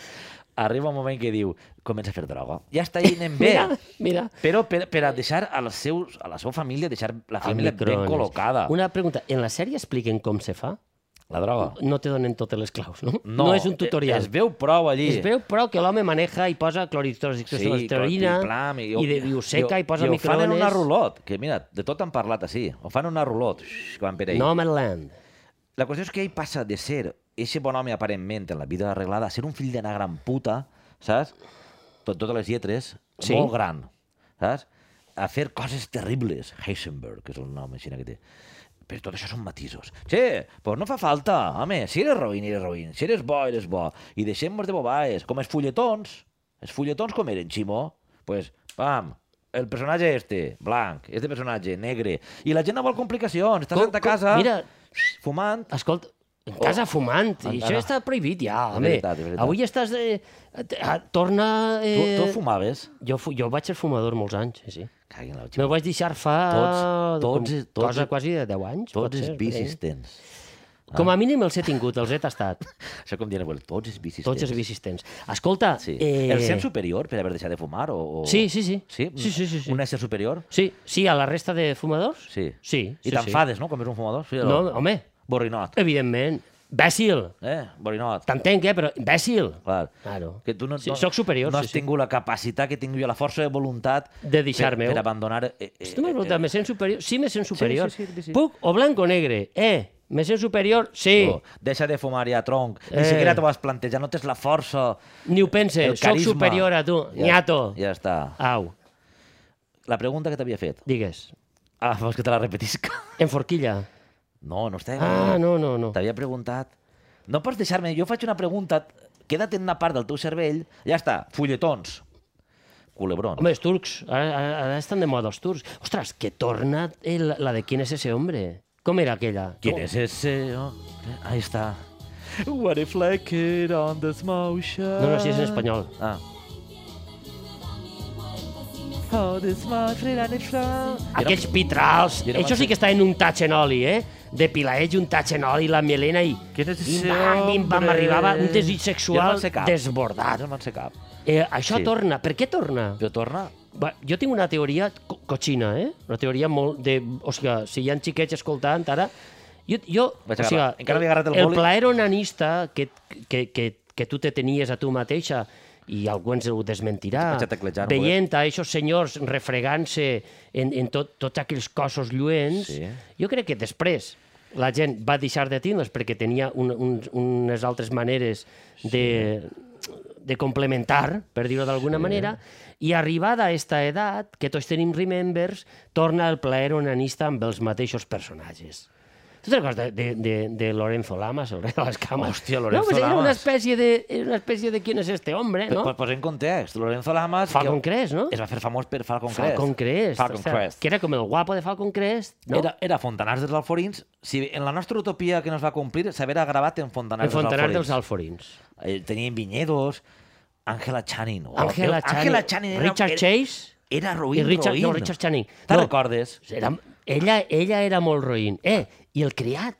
S1: arriba un moment que diu comença a fer droga. Ja està ahí, anem
S2: sí.
S1: bé.
S2: Mira, mira.
S1: Però per, per a deixar a, les seus, a la seva família, deixar la
S2: al
S1: família ben
S2: microones.
S1: col·locada.
S2: Una pregunta, en la sèrie expliquen com se fa?
S1: La droga. Eh,
S2: No te donen totes les claus, no? no és un tutorial.
S1: Es veu prou allí.
S2: Es veu, però, que l'home maneja i posa cloritroxiclosterina
S1: cloriplam,
S2: i, de- i ho seca i, posa
S1: i ho fan
S2: microones.
S1: en una rulot, que mira, de tot han parlat així. Ho fan en una rulot, xx, que van per ahí. No.
S2: Nomadland.
S1: La qüestió és que ell passa de ser eixe bon home aparentment en la vida arreglada a ser un fill d'anar gran puta, saps? Tot, totes les lletres,
S2: Sí.
S1: molt gran, saps? A fer coses terribles. Heisenberg, que és el nom així que té. Però tot això són matisos. Che, doncs no fa falta, home, si eres roïn, eres roïn, si eres bo, eres bo. I deixem-nos de bobaes, com els fulletons. Els fulletons com eren, Ximó? Doncs, pues, pam, el personatge este, blanc, este personatge, negre. I la gent no vol complicacions, estàs
S2: Com-
S1: sentat a
S2: com-
S1: casa,
S2: mira.
S1: fumant,
S2: Escolta,
S1: Oh.
S2: en casa fumant, i
S1: Encara.
S2: això està prohibit ja,
S1: És
S2: home.
S1: veritat, és veritat.
S2: Avui estàs... Eh, t- ah, torna...
S1: Tu,
S2: Eh...
S1: tu fumaves?
S2: Jo, fu jo vaig ser fumador molts anys, sí, sí.
S1: Cagui en la
S2: Me'l vaig deixar fa...
S1: Tots- tots-
S2: com-
S1: tots-
S2: cosa quasi de 10 anys, pot
S1: Tots
S2: ser.
S1: els vicis
S2: eh?
S1: tens.
S2: Com a mínim els he tingut, els he tastat.
S1: Això com dient, bueno, tots els vicis
S2: Tots els
S1: tens.
S2: vicis tens. Escolta...
S1: Sí.
S2: Eh...
S1: El sent superior per haver deixat de fumar o... o...
S2: Sí, sí, sí.
S1: Sí?
S2: Sí, sí, sí, sí.
S1: Un ésser superior?
S2: Sí, sí, a la resta de fumadors?
S1: Sí.
S2: Sí,
S1: I
S2: sí,
S1: t'enfades, no?, com és un fumador? Sí,
S2: sí. No, home,
S1: Borrinot.
S2: evidentment. Bècil.
S1: Eh? Borrinot.
S2: T'entenc, eh, però imbècil.
S1: Clar.
S2: Claro.
S1: Que tu no,
S2: Sí,
S1: no,
S2: soc superior,
S1: no
S2: sí,
S1: has
S2: sí.
S1: tingut la capacitat que tinc jo, la força de voluntat
S2: De deixar-me-ho.
S1: per, per abandonar... Eh, eh,
S2: Tu m'has preguntat, me sent superior? Sí, me sent superior.
S1: sí, sí, sí, sí.
S2: Puc o blanc o negre? Eh, me sent superior? Sí.
S1: Oh, deixa de fumar ja, tronc. Ni
S2: Eh.
S1: siquiera t'ho has plantejat, no tens la força,
S2: Ni ho pense,
S1: el
S2: soc
S1: carisma.
S2: superior a tu,
S1: Ja-
S2: nyato.
S1: Ja està.
S2: Au,
S1: La pregunta que t'havia fet.
S2: digues,
S1: Ah, vols que te la repetisca?
S2: en forquilla.
S1: No, no està...
S2: Ah, no, no, no.
S1: T'havia preguntat... No pots deixar-me... Jo faig una pregunta, queda't en una part del teu cervell... Ja està, fulletons. Culebrons.
S2: Home, els turcs, ara, ara- ara estan de moda els turcs. Ostres, que torna el, la de ¿Quién es ese hombre? Com era aquella?
S1: Quin és ese... Oh, ahí està. What if I could on this motion...
S2: No, no, si és en espanyol.
S1: Ah. Oh, this motion and it's all...
S2: Aquells pitrals,
S1: I era
S2: això sí que està en un tatx en oli, eh? De pilaets i un tatx en oli, la melena i...
S1: Quin és
S2: I
S1: ese
S2: bam, bim, bam,
S1: hombre?
S2: arribava un desig
S1: Jo no
S2: sexual
S1: en sé cap.
S2: desbordat.
S1: Jo no en sé cap.
S2: Eh, això
S1: Sí.
S2: sí. torna. Per què torna?
S1: Però torna...
S2: Va, jo tinc una teoria co cochina, eh? Una teoria molt de... O sigui, si hi ha xiquets escoltant ara... Jo, jo
S1: Vaig
S2: o sigui,
S1: agarrar. Encara li he agarrat el
S2: el
S1: boli.
S2: plaer onanista que, que, que, que tu te tenies a tu mateixa i algú ens ho desmentirà,
S1: Vaig a teclejar un
S2: veient a aquests senyors refregant-se en, en tot, tots aquells cossos lluents,
S1: Sí.
S2: jo crec que després la gent va deixar de tindre'ls perquè tenia un, un, unes altres maneres de, de complementar, per dir-ho d'alguna manera, i arribada a esta edat, que tots tenim remembers, torna el plaer onanista amb els mateixos personatges. Tu te'n recordes de, de, de, de Lorenzo Lamas, el rei de les cames?
S1: Hòstia,
S2: no,
S1: Lorenzo
S2: pues era una
S1: Lamas.
S2: espècie de, era una espècie de quién es este hombre,
S1: No?
S2: Eh, no?
S1: Per posar en context, Lorenzo Lamas...
S2: Falcon
S1: jo-
S2: Crest, no?
S1: Es va fer famós per Falcon Crest.
S2: Falcon Crest.
S1: Falcon
S2: o sea,
S1: Crest.
S2: Que era com el guapo de Falcon Crest, no?
S1: Era, era Fontanars dels Alforins. Si bé en la nostra utopia que nos va complir s'haverà gravat en Fontanars,
S2: el Fontanar dels
S1: dels Alforins.
S2: Alforins.
S1: Eh, Tenien vinyedos, Angela Channing. oh,
S2: Angela
S1: Déu,
S2: Channing,
S1: Angela Channing era,
S2: Richard
S1: era,
S2: Chase
S1: era
S2: i
S1: roïn,
S2: Richard,
S1: roïn.
S2: no, Richard Channing.
S1: Te'n
S2: No,
S1: recordes?
S2: era, ella, ella era molt roïn. Eh, i el criat?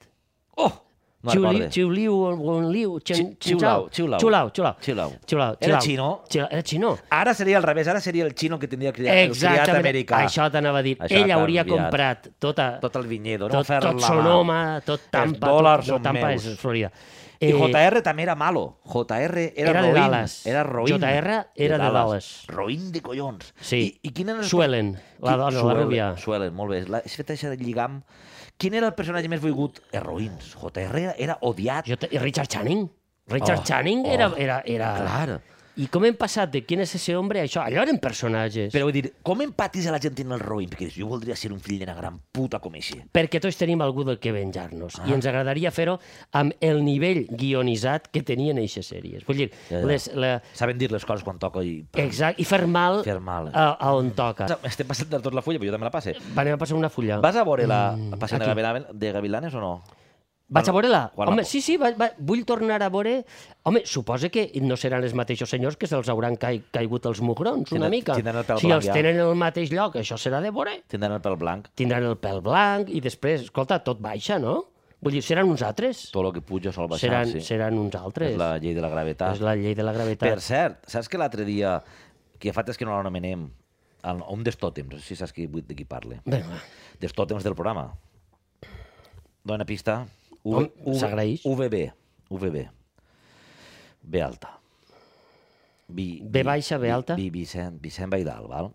S1: Oh! No
S2: Xiu
S1: recordes.
S2: Liu, Xiu Liu, Won Liu, Chen-
S1: Xiu
S2: Chen
S1: Lau,
S2: Chao.
S1: Xiu Lau.
S2: Xiu Lau, Xiu Lau.
S1: Xiu Lau.
S2: Xiu Lau, Xiu
S1: Era
S2: Lau.
S1: xino.
S2: Xiu- Era xinó.
S1: Ara seria al revés, ara seria el xino que tindria el criat, el criat
S2: Exactament,
S1: americà.
S2: això t'anava a dir.
S1: Això
S2: Ella hauria
S1: t'ha enviat.
S2: comprat tota,
S1: Tot el vinyedo, no?
S2: tot,
S1: Fer
S2: tot
S1: la mà.
S2: Sonoma, tot Tampa.
S1: dòlars
S2: tot, no,
S1: són
S2: Tampa
S1: meus.
S2: és Florida. Eh,
S1: I JR també era malo. JR era,
S2: Era de
S1: roïn.
S2: Dallas.
S1: Era roïn.
S2: JR era de Dallas.
S1: Roïn de collons.
S2: Sí.
S1: I, i quin era el...
S2: Suelen, la dona, la rubia.
S1: Suelen, molt bé. La, has fet això de lligam. Quin era el personatge més volgut? Els roïns. JR era, era odiat.
S2: Jo te... I Richard Channing. Richard
S1: Oh,
S2: Channing
S1: oh,
S2: era, era, era...
S1: clar.
S2: I com hem passat de quin és ese hombre a això? Allò eren personatges.
S1: Però vull dir, com empatitza la gent en el roïn? Perquè dius, jo voldria ser un fill d'una gran puta com així.
S2: perquè tots tenim algú del que venjar-nos ah. i ens agradaria fer-ho amb el nivell guionitzat que tenien eixes sèries. Vull dir,
S1: Ja, ja.
S2: ja, ja. Les, la,
S1: Saben dir les coses quan toca i...
S2: exacte, i fer mal,
S1: Fer mal.
S2: A, a on toca.
S1: Estem passant de tot la fulla, però jo també la passe.
S2: Anem a passar una fulla.
S1: Vas a veure la
S2: Mm,
S1: passant de,
S2: aquí.
S1: Gavilanes, de Gavilanes o no?
S2: Vaig a veure-la?
S1: Quan la
S2: Home,
S1: po-
S2: sí, sí, va, va, vull tornar a veure... Home, suposa que no seran els mateixos senyors que se'ls hauran cai, caigut els mugrons, una
S1: Tindran-
S2: mica.
S1: tindran el pèl
S2: si
S1: blanc,
S2: els
S1: ja.
S2: tenen en el mateix lloc, això serà de veure.
S1: Tindran el pèl blanc.
S2: Tindran el pèl blanc i després, escolta, tot baixa, no? Vull dir, seran uns altres.
S1: Tot el que puja sol baixar,
S2: seran,
S1: sí.
S2: seran uns altres.
S1: És la llei de la gravetat.
S2: És la llei de la gravetat.
S1: Per cert, saps que l'altre dia, que fa temps que no l'anomenem, el- un dels tòtems, no sé si saps qui, de qui parle,
S2: Bueno, va.
S1: dels tòtems del programa. Dóna pista. U-
S2: Home,
S1: U-
S2: s'agraeix.
S1: VB. VB. B alta. Vi,
S2: B baixa, B
S1: Vi-
S2: alta.
S1: Vi, Vicent, Vicent Baidal, val?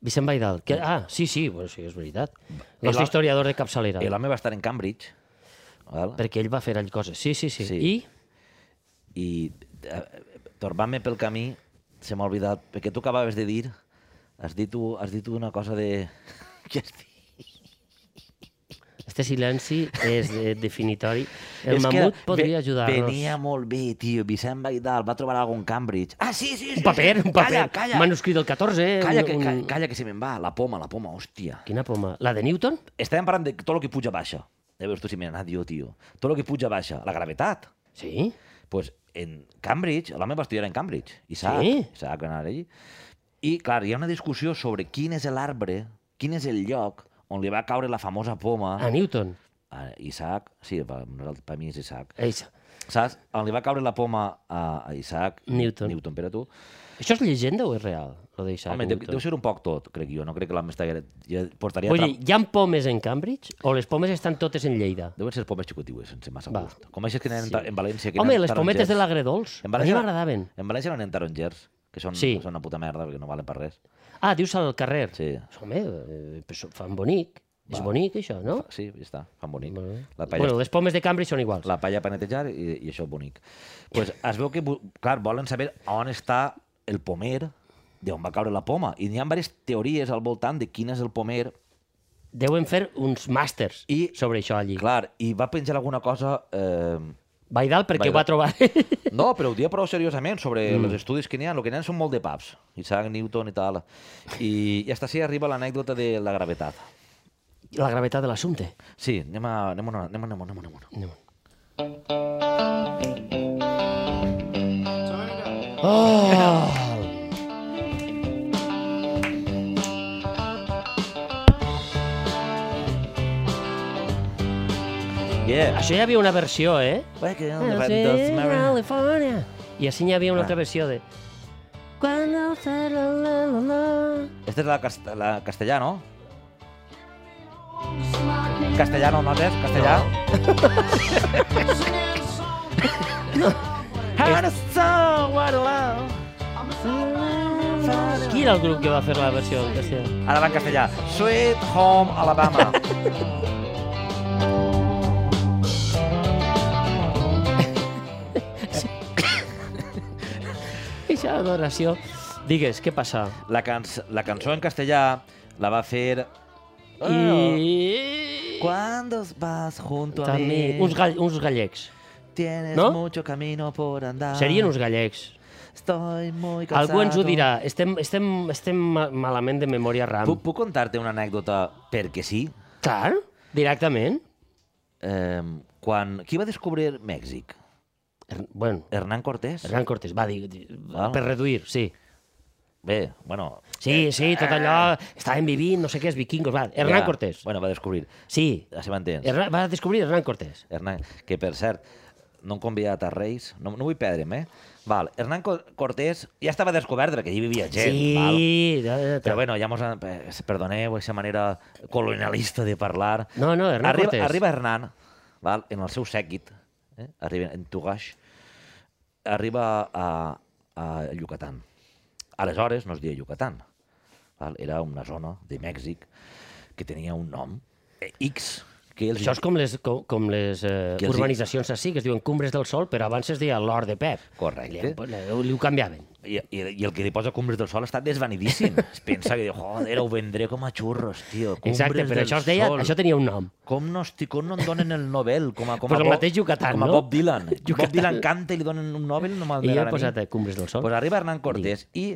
S2: Vicent Baidal. Que, ah, sí, sí, bueno, sí, és veritat. El
S1: home-
S2: nostre historiador de capçalera.
S1: Eh, L'home va estar en Cambridge, val?
S2: Perquè ell va fer allà coses. Sí, sí, sí.
S1: Sí.
S2: sí. I
S1: i eh, torbant-me pel camí se m'ha oblidat, perquè tu acabaves de dir has dit, tu, has dit tu una cosa de... Què has dit?
S2: este silenci és eh, definitori. El
S1: És que
S2: mamut
S1: ve-
S2: podria ajudar-nos.
S1: Venia molt bé, tio. Vicent Baidal va trobar algun Cambridge. Ah, sí, sí, sí.
S2: Un paper,
S1: sí.
S2: un paper.
S1: Calla, calla.
S2: Manuscrit del 14. eh,
S1: Calla, que,
S2: un,
S1: ca-
S2: un...
S1: calla, que se me'n va. La poma, la poma, hòstia.
S2: Quina poma? La de Newton?
S1: Estàvem parlant de tot el que puja baixa. Ja veus tu si m'he anat jo, tio. Tot el que puja baixa. La gravetat.
S2: Sí.
S1: pues, en Cambridge, l'home va estudiar en Cambridge, Isaac,
S2: Sí?
S1: Isaac va anar allí. I, clar, hi ha una discussió sobre quin és l'arbre, quin és el lloc on li va caure la famosa poma
S2: A Newton.
S1: a Isaac, sí, per, nosaltres- per mi és Isaac,
S2: Eixa.
S1: saps? On li va caure la poma a, a Isaac,
S2: Newton.
S1: Newton per a tu.
S2: Això és llegenda o és real? Lo d'Isaac
S1: Home, deu,
S2: Newton.
S1: deu, ser un poc tot, crec jo, no crec que l'home estigués... Ja portaria...
S2: Vull
S1: tra-
S2: dir, hi ha pomes en Cambridge o les pomes estan totes en Lleida?
S1: Deuen ser pomes xicotigues, sense massa
S2: Va.
S1: gust. Com aixes que nen sí. en València... Que
S2: Home,
S1: nen
S2: les pometes
S1: tarongers.
S2: de l'agredols. A
S1: En
S2: mi
S1: València,
S2: m'agradaven.
S1: En València no anem tarongers, que són,
S2: Sí.
S1: són una puta merda, perquè no valen per res.
S2: Ah, dius al carrer.
S1: Sí.
S2: Home, eh, pues ho fan bonic. Va. És bonic, això, no?
S1: Sí, ja està, fan bonic.
S2: Molt bé.
S1: La palla,
S2: Bueno, les pomes de Cambridge són iguals.
S1: la palla per netejar i, i això bonic. pues es veu que, bu- clar, volen saber on està el pomer, d'on va caure la poma. I hi ha diverses teories al voltant de quin és el pomer.
S2: Deuen fer uns màsters I...
S1: I-
S2: sobre això allí. Clar.
S1: Clar, i va penjar alguna cosa... Eh,
S2: Vaidal, perquè
S1: Vaidal.
S2: ho va trobar.
S1: No, però ho dia prou seriosament sobre mm. els estudis que n'hi ha. El que n'hi ha són molt de paps. Isaac Newton i tal. I, i hasta així arriba l'anècdota de la gravetat.
S2: la gravetat de l'assumpte.
S1: Sí, anem a... Anem a... Anem a... Anem a... Anem a... Anem a...
S2: Oh!
S1: Yeah.
S2: Això hi havia una versió, eh?
S1: Vaja, que...
S2: California. I així hi havia una
S1: Ah.
S2: altra versió de... Quan el cel... La, la, la.
S1: Esta es la, cast la castellano. Castellano, ¿no es? Castellano.
S2: Qui era el grup que va fer la versió en castellà?
S1: Ara va en castellà. Sweet Home Alabama.
S2: Eixa adoració. Digues, què passa? Ah.
S1: Ah. La, can la cançó en castellà la va fer...
S2: I...
S1: Cuando vas junto a mí,
S2: També, uns, gall uns gallecs.
S1: tienes
S2: no?
S1: mucho camino por andar.
S2: Serien uns gallecs.
S1: Estoy muy cansado.
S2: Algú ens ho dirà. Estem, estem, estem ma- malament de memòria RAM.
S1: Puc, puc contar-te una anècdota perquè sí?
S2: Clar, directament.
S1: Eh, quan, qui va descobrir Mèxic?
S2: Her- Er, Bueno,
S1: Hernán Cortés?
S2: Hernán Cortés, va, dir, di-
S1: Val.
S2: per reduir, sí.
S1: Bé, bueno... eh,
S2: Sí, sí, tot allò, estaven vivint, no sé què, els vikingos, va, Hernán
S1: ja,
S2: Cortés.
S1: Bueno, va descobrir.
S2: Sí,
S1: Ja se m'entens.
S2: Hernán, va descobrir Hernán Cortés.
S1: Hernán, que per cert, no han convidat a Reis, no, no vull perdre'm, eh? Val, Hernán Co- Cortés ja estava descobert perquè allí vivia gent, val?
S2: sí, da- da- da-
S1: Però bueno, ja mos... han- eh, Perdoneu aquesta manera colonialista de parlar.
S2: No, no, Hernán
S1: arriba,
S2: Cortés.
S1: Arriba Hernán, val, en el seu sèquit, eh? arriba en Tugash, arriba a, a Yucatán. Aleshores no es deia Yucatán, val? era una zona de Mèxic que tenia un nom, eh, X, que els...
S2: Això és com les, com, com les eh,
S1: Que els hi-
S2: urbanitzacions així, que es diuen Cumbres del Sol, però abans es deia l'Hort de Pep.
S1: Correcte.
S2: Li, li ho canviaven.
S1: I, i, I el que li posa Cumbres del Sol està desvanidíssim. Es pensa que diu, joder, ho vendré com a xurros, tio. Cumbres
S2: Exacte, però
S1: del
S2: això, es deia,
S1: Sol.
S2: això tenia un nom.
S1: Com no, estic, com no em donen el Nobel? Com a, com
S2: Pues
S1: a
S2: el mateix Yucatán,
S1: com a
S2: no?
S1: Bob Dylan.
S2: Yucatán.
S1: Bob Dylan canta i li donen un Nobel, no me'l
S2: I jo
S1: donaran
S2: he
S1: a
S2: posat
S1: mi.
S2: eh, Cumbres del Sol.
S1: Pues arriba Hernán Cortés i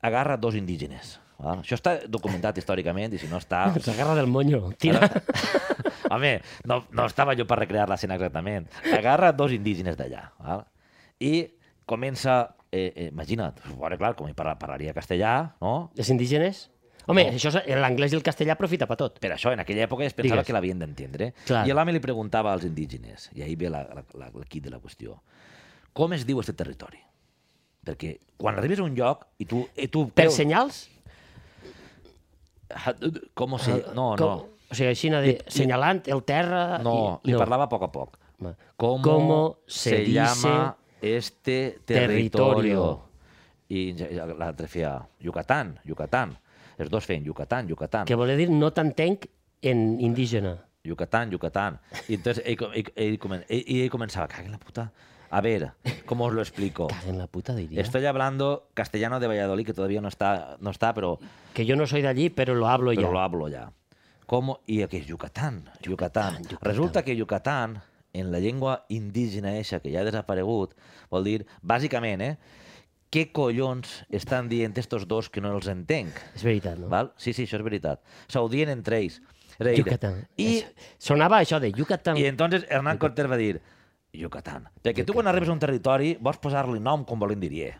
S1: agarra dos indígenes. Val? Això està documentat històricament i si no està...
S2: S'agarra del monyo. Tira.
S1: Home, no, no estava jo per recrear l'escena exactament. Agarra dos indígenes d'allà val? i comença... Eh, eh, imagina't, bueno, clar, com hi parla, parlaria castellà, no?
S2: Els indígenes? Home, això és- eh, l'anglès i el castellà aprofita per tot.
S1: Per això, en aquella època es pensava
S2: Digues.
S1: Digues. que l'havien d'entendre.
S2: Clar.
S1: I l'home li preguntava als indígenes, i ahir ve la- la- la- el quid de la qüestió, com es diu aquest territori? Perquè quan arribes a un lloc i tu... I tu
S2: Per
S1: creus- Ah,
S2: senyals?
S1: Com ho sé? No,
S2: Ah, Com-
S1: no.
S2: O sigui, així, de, senyalant el terra...
S1: No,
S2: i-
S1: li parlava a poc a poc.
S2: Va.
S1: ¿Cómo,
S2: ¿Cómo se
S1: se, llama este
S2: territorio?
S1: territorio? I l'altre feia Yucatán, Yucatán. Els dos feien Yucatán, Yucatán.
S2: Que volia dir no t'entenc en indígena.
S1: Yucatán, Yucatán. Y entonces ell, com- ell, ell, comen- ell, ell comenzaba, cague la puta. A ver, ¿cómo os lo explico?
S2: En la puta diria.
S1: Estoy hablando castellano de Valladolid, que todavía no está, no está pero,
S2: Que yo no soy de allí, pero lo hablo
S1: pero
S2: ya.
S1: lo hablo ya. ¿Cómo? Y aquí es Yucatán, Yucatán. Resulta que Yucatán, en la llengua indígena eixa, que ja ha desaparegut, vol dir, bàsicament, eh, què collons estan dient estos dos que no els entenc?
S2: És veritat, no?
S1: Val? Sí, sí, això és veritat. S'audien entre ells. És a dir,
S2: Yucatán.
S1: I
S2: Això- Sonava això de Yucatán.
S1: I entonces Hernán Cortés va dir Yucatán. Perquè tu quan arribes a un territori vols posar-li nom com volent diria.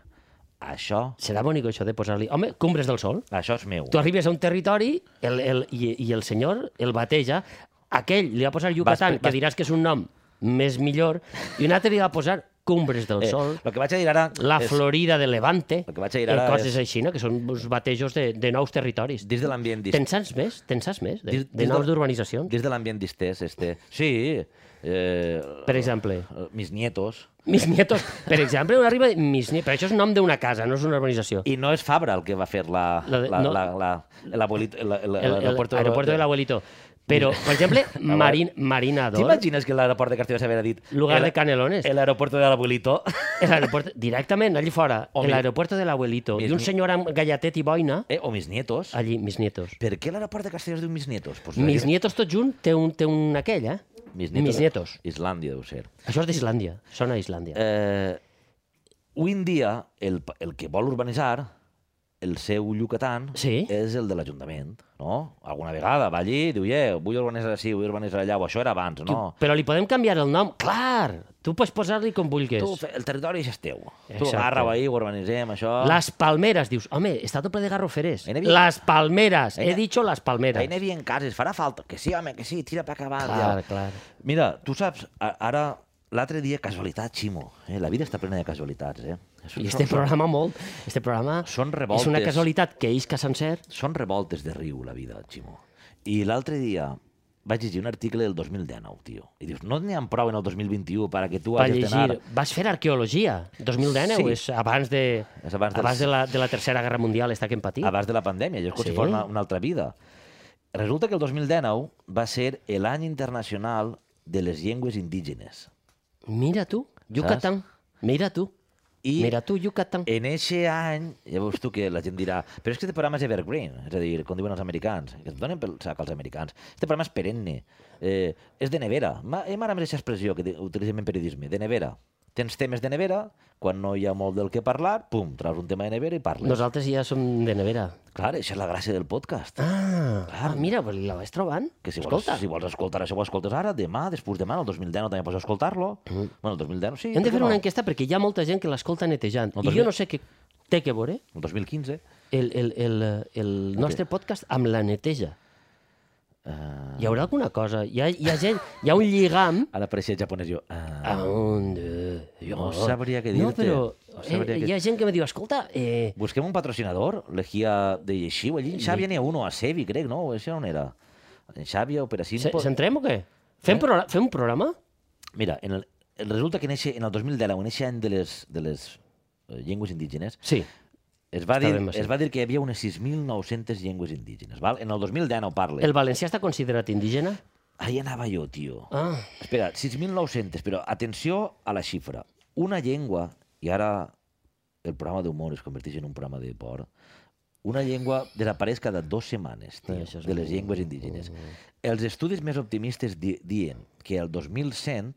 S1: Això,
S2: Serà bonic això de posar-li... Home, Cumbres del Sol.
S1: això és meu.
S2: Tu arribes a un territori el, el, i, i el senyor el bateja. Aquell li va posar Yucatán,
S1: Vas-
S2: que
S1: vas-
S2: diràs que és un nom més millor, i un altre li va posar Cumbres del Sol,
S1: Eh, el que vaig a dir ara
S2: la
S1: és,
S2: Florida de Levante,
S1: El que vaig a dir
S2: i
S1: ara
S2: coses
S1: és-
S2: així, no? que són uns batejos de, de nous territoris.
S1: dins de l'ambient
S2: Te'n
S1: distès,
S2: saps més? Te'n saps més? De,
S1: Dis-
S2: de
S1: dis-
S2: noms d'urbanitzacions?
S1: dins de l'ambient distès, este... Sí, eh,
S2: Per exemple,
S1: mis nietos.
S2: Mis nietos, per exemple, on arriba Mis nietos, però això és nom d'una casa, no és una urbanització.
S1: I no és Fabra el que va fer la,
S2: La
S1: la,
S2: de-
S1: la,
S2: no.
S1: la, la, l'abuelit- la, la,
S2: El- el-
S1: l'aeropuerto de- Ah,
S2: Aeropuerto del Abuelito. Però, per exemple, Marin, Marina d'Or,
S1: T'imagines que l'aeroport de Castelló s'havia dit
S2: lugar
S1: el-
S2: de Canelones, el,
S1: el aeropuerto de l'abuelito?
S2: aeropuerto, directament, allí fora,
S1: O mi-
S2: l'aeropuerto de l'Abuelito,
S1: Mis
S2: i un
S1: ni-
S2: senyor amb gallatet i boina,
S1: Eh, o mis nietos.
S2: allí, mis nietos.
S1: Per què l'aeroport de Castelló es diu mis nietos? Pues
S2: Mis
S1: perquè-
S2: nietos tot junt té un, té un aquell, eh?
S1: Mis nietos.
S2: Mis nietos.
S1: Islàndia, deu ser.
S2: Això és d'Islàndia, sona a Islàndia.
S1: Eh, avui en dia, el, pa- el que vol urbanitzar, el seu Yucatán,
S2: Sí.
S1: és el de l'Ajuntament, no? Alguna vegada va allí i diu, eh, vull urbanitzar així, vull urbanitzar allà, o això era abans, no?
S2: Però li podem canviar el nom? Clar! Tu pots posar-li com vulguis.
S1: Tu, fe- el territori ja és teu. Tu
S2: Exacte.
S1: agarra-ho ahí, ho urbanitzem, això...
S2: Las Palmeras, dius, home, està tot ple de garroferers.
S1: Ahí n'hi havia-
S2: Las Palmeras,
S1: Ahí
S2: he
S1: n'hi-
S2: dicho Las Palmeras.
S1: Ahí n'hi havia cases, farà falta. Que sí, home, que sí, tira per acabar.
S2: Clar, clar.
S1: Mira, tu saps, a- ara, l'altre dia, casualitat, Ximo. Eh? La vida està plena de casualitats, eh? Són-
S2: I este
S1: són-
S2: programa molt, este programa
S1: Són
S2: és una
S1: revoltes.
S2: casualitat que isca sencer.
S1: Són revoltes de riu, la vida, Ximo. I l'altre dia vaig llegir un article del 2019, tio. I dius, no n'hi ha prou en el 2021 per a que tu
S2: Va
S1: hagis d'anar...
S2: llegir, vas fer arqueologia, 2019,
S1: Sí.
S2: és abans de,
S1: És abans dels-
S2: abans de, la, de la Tercera Guerra Mundial, està que hem patit.
S1: abans de la pandèmia, jo és com
S2: Sí.
S1: si fos una, una altra vida. Resulta que el 2019 va ser l'any internacional de les llengües indígenes.
S2: Mira tu, Yucatán, mira tu.
S1: I Eh,
S2: Mira tu, Yucatán.
S1: en eixe any, llavors tu que la gent dirà, però és que este programa és evergreen, és a dir, com diuen els americans, que et donen pel sac als americans. Este programa és perenne, eh, és de nevera. Ma- eh, M'agrada més aquesta expressió que di- utilitzem en periodisme, de nevera. Tens temes de nevera, quan no hi ha molt del que parlar, pum, traus un tema de nevera i parles.
S2: Nosaltres ja som de nevera.
S1: Clar, això és la gràcia del podcast.
S2: Ah, ah mira, pues la vaig trobant.
S1: Que si vols,
S2: Escolta,
S1: si vols escoltar això, ho escoltes ara, demà, després demà, el 2010 no també pots escoltar-lo. Bueno, el 2010 sí.
S2: Mm. hem de
S1: per què
S2: fer una
S1: no?
S2: enquesta perquè hi ha molta gent que l'escolta netejant.
S1: No,
S2: I
S1: doncs
S2: jo
S1: mi-
S2: no sé què té que veure
S1: El 2015.
S2: el, el, el, el nostre podcast amb la neteja.
S1: Uh,
S2: Hi haurà alguna cosa? Hi ha, hi ha, gent, hi ha un lligam
S1: ara apareixia el japonès jo. Uh,
S2: a on... eh,
S1: No sabria què
S2: No,
S1: dir-te.
S2: però
S1: No sabria
S2: eh,
S1: què-
S2: hi ha gent que me diu, escolta, eh,
S1: busquem un patrocinador, l'egia de Yeshiva, allí en Xavi n'hi ha uno, a Sevi, crec, no? Això on era? En Xavi o per a
S2: se-
S1: Simpo...
S2: centrem o què?
S1: Eh?
S2: Fem, pro fem un programa?
S1: Mira, en el, el, resulta que en, eixe, en el 2010, en aquest any de les, de les eh, llengües indígenes,
S2: Sí.
S1: es va, dir,
S2: Estàvem així.
S1: es va dir que hi havia unes 6.900 llengües indígenes, val? En el 2019 parle.
S2: El valencià està considerat indígena?
S1: Ahí anava jo, tio.
S2: Ah,
S1: Espera, 6.900, però atenció a la xifra. Una llengua, i ara el programa d'humor es converteix en un programa de por, una llengua desapareix cada dues setmanes, tio,
S2: Ah, això és Mm.
S1: de les
S2: molt-
S1: llengües indígenes. Els estudis més optimistes di diuen que el 2100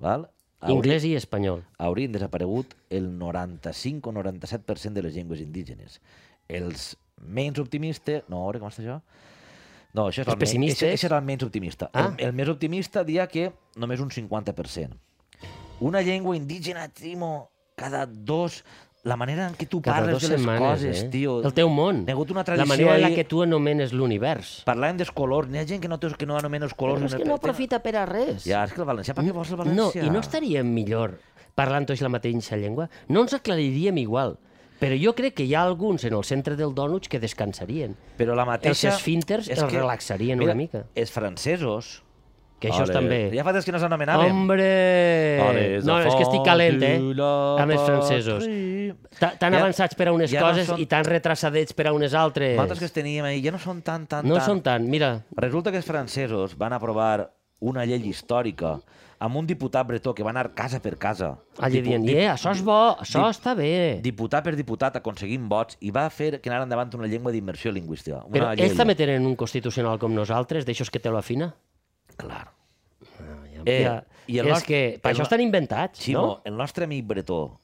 S1: val, hauri
S2: anglès i espanyol.
S1: haurien desaparegut el 95 o 97% de les llengües indígenes. Els menys optimistes... No, a veure com està això? No, això és
S2: Els
S1: el, me-
S2: pessimistes?
S1: això- això era el menys optimista.
S2: Ah.
S1: El, el més optimista dia que només un 50%. Una llengua indígena, Timo, cada dos... La manera en què tu
S2: Cada
S1: parles
S2: dues
S1: de les
S2: setmanes,
S1: coses,
S2: eh?
S1: tio...
S2: El teu món.
S1: Hi ha hagut una
S2: La
S1: tradició...
S2: manera en la
S1: ahí-
S2: que tu anomenes l'univers.
S1: Parlàvem dels colors. N'hi ha gent que no, té- que no anomena els colors.
S2: Però és
S1: en el
S2: que no
S1: te- tema.
S2: aprofita per a res.
S1: Ja, és que el valencià, per què vols el
S2: No,
S1: valencià?
S2: i no estaríem millor parlant tots la mateixa llengua? No ens aclariríem igual. Però jo crec que hi ha alguns en el centre del Donuts que descansarien.
S1: Però la mateixa...
S2: Els esfínters
S1: és
S2: els relaxarien una mica.
S1: Els francesos...
S2: Que això és també...
S1: Ja fa temps que no s'anomenaven.
S2: Hombre!
S1: Hola,
S2: No, és que estic calent, eh?
S1: de la
S2: Amb els francesos. Ta- Tan
S1: Ja-
S2: avançats per a unes
S1: ja no
S2: coses
S1: són-
S2: i tan retrasadets per a unes altres.
S1: Nosaltres que els teníem ahir ja no són tan, tan,
S2: No
S1: tan.
S2: són tant, mira.
S1: Resulta que els francesos van aprovar una llei històrica amb un diputat bretó que va anar casa per casa.
S2: Allà
S1: dipu-
S2: dient,
S1: dip-
S2: eh, això és bo, això
S1: dip-
S2: està bé.
S1: Diputat per diputat aconseguint vots i va fer que anara endavant una llengua d'immersió lingüística. Una
S2: Però
S1: llei.
S2: ells també tenen un constitucional com nosaltres, d'aixòs que té la fina.
S1: Clar.
S2: Ja,
S1: Eh,
S2: ja,
S1: i el
S2: és
S1: nostre-
S2: que per
S1: el
S2: això
S1: no-
S2: estan inventats,
S1: Ximo,
S2: no?
S1: el nostre amic bretó,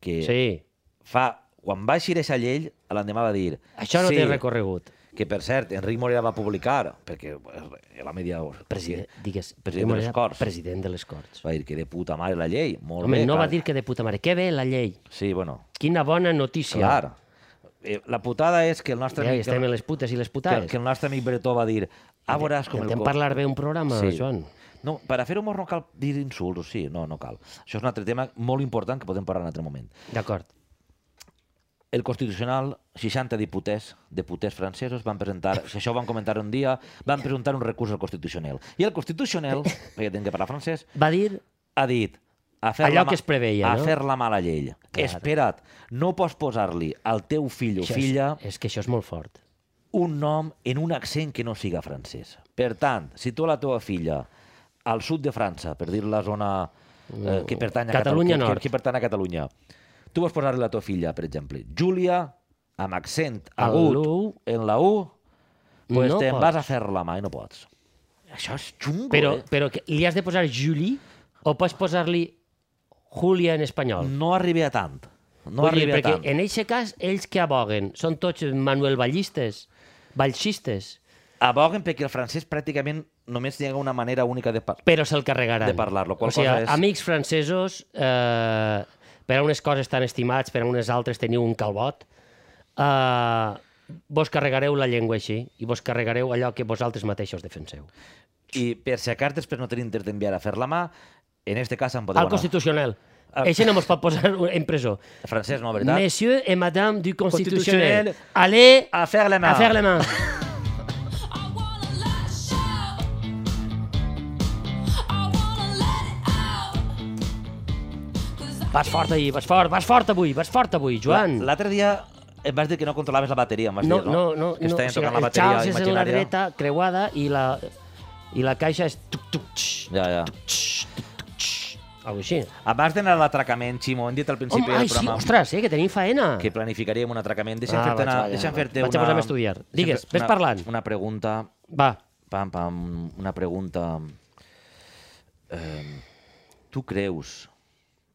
S1: que
S2: Sí.
S1: fa... Quan va eixir aquesta llei, a l'endemà va dir...
S2: Això no
S1: sí,
S2: té recorregut.
S1: Que, per cert, Enric Morera va publicar, perquè eh, la media...
S2: President, Eh, digues,
S1: president de les
S2: Morera,
S1: Corts.
S2: President de les Corts.
S1: Va dir que de puta mare la llei, molt
S2: Home,
S1: bé.
S2: no va
S1: clar.
S2: dir que de puta mare. Que bé la llei.
S1: Sí, bueno,
S2: Quina bona notícia.
S1: clar. Eh, la putada és que el nostre
S2: Ja hi
S1: amic...
S2: estem en les putes i les
S1: que,
S2: putades.
S1: que el nostre amic Bretó va dir... Ah, veuràs com el...
S2: Intentem
S1: cor-"
S2: parlar bé un programa,
S1: Sí.
S2: Joan.
S1: No, per a fer humor no cal dir insults, sí, no, no cal. Això és un altre tema molt important que podem parlar en un altre moment.
S2: D'acord.
S1: El Constitucional, 60 diputés, diputés francesos, van presentar, si això ho van comentar un dia, van presentar un recurs al Constitucional. I el Constitucional, perquè tenen que parlar francès,
S2: Va dir...
S1: ha dit a fer
S2: Allò
S1: la ma-
S2: que es preveia,
S1: a
S2: no?
S1: fer la mala llei. Espera't, no pots posar-li al teu fill o
S2: Això
S1: filla
S2: És, és que això és molt fort.
S1: un nom en un accent que no siga francès. Per tant, si tu a la teva filla al sud de França, per dir la zona eh, que pertany a
S2: Catalunya
S1: Catalunya, que,
S2: Nord.
S1: que, que pertany a Catalunya, tu vols posar-li a la teva filla, per exemple, Júlia, amb accent
S2: A l'U.
S1: agut en la U, pues
S2: No
S1: no te'n
S2: pots.
S1: vas a fer la mà i no pots. Això és xungo,
S2: Però,
S1: eh?
S2: però que li has de posar Julie o pots posar-li Julia en espanyol?
S1: No arribi a tant. No
S2: Vull dir,
S1: arribi a
S2: perquè
S1: tant.
S2: en aquest cas, ells que aboguen? Són tots Manuel Ballistes, Balxistes,
S1: Aboguen perquè el francès pràcticament només hi ha una manera única de parlar.
S2: però se'l carregaran.
S1: De parlar-lo, qual
S2: O sigui,
S1: cosa és-
S2: amics francesos, eh, per a unes coses tan estimats, per a unes altres teniu un calbot, eh, vos carregareu la llengua així i vos carregareu allò que vosaltres mateixos defenseu.
S1: I per si a cartes, per no tenir interès d'enviar a fer la mà, en este cas em podeu
S2: Al
S1: anar.
S2: Constitucional.
S1: Ah.
S2: Eixe no mos pot posar en presó.
S1: Francès, no, veritat?
S2: Monsieur et Madame du Constitutionnel,
S1: Constitutionnel, Ah,
S2: allez
S1: A fer la mà.
S2: a faire la main.
S4: I wanna let it shout. I wanna let it out. Cause I
S2: Vas fort ahir, vas fort, vas fort avui, vas fort avui, Joan.
S1: La- L'altre dia em vas dir que no controlaves la bateria, em vas
S2: No,
S1: dir, no?
S2: no, no.
S1: Que
S2: no.
S1: estaven tocant la
S2: el
S1: bateria
S2: Charles és en la
S1: imaginària.
S2: dreta creuada i la, i la caixa és... Tuc, tuc, tx,
S1: Ja, ja.
S2: tx, tuc, tx. Algo així.
S1: Abans d'anar a l'atracament, Ximo, hem dit al principi
S2: Home,
S1: del
S2: ai, sí,
S1: programa
S2: ostres, eh, que tenim faena.
S1: que planificaríem un atracament. Deixa'm
S2: Ah,
S1: fer-te
S2: vaig,
S1: una...
S2: vaja,
S1: Deixa'm
S2: vaig.
S1: fer-te
S2: Vaig a
S1: una-
S2: posar-me a estudiar.
S1: deixa'm
S2: Digues,
S1: fer-te
S2: ves
S1: una-
S2: parlant.
S1: Una pregunta...
S2: Va,
S1: Pam, pam, una pregunta... Eh, tu creus,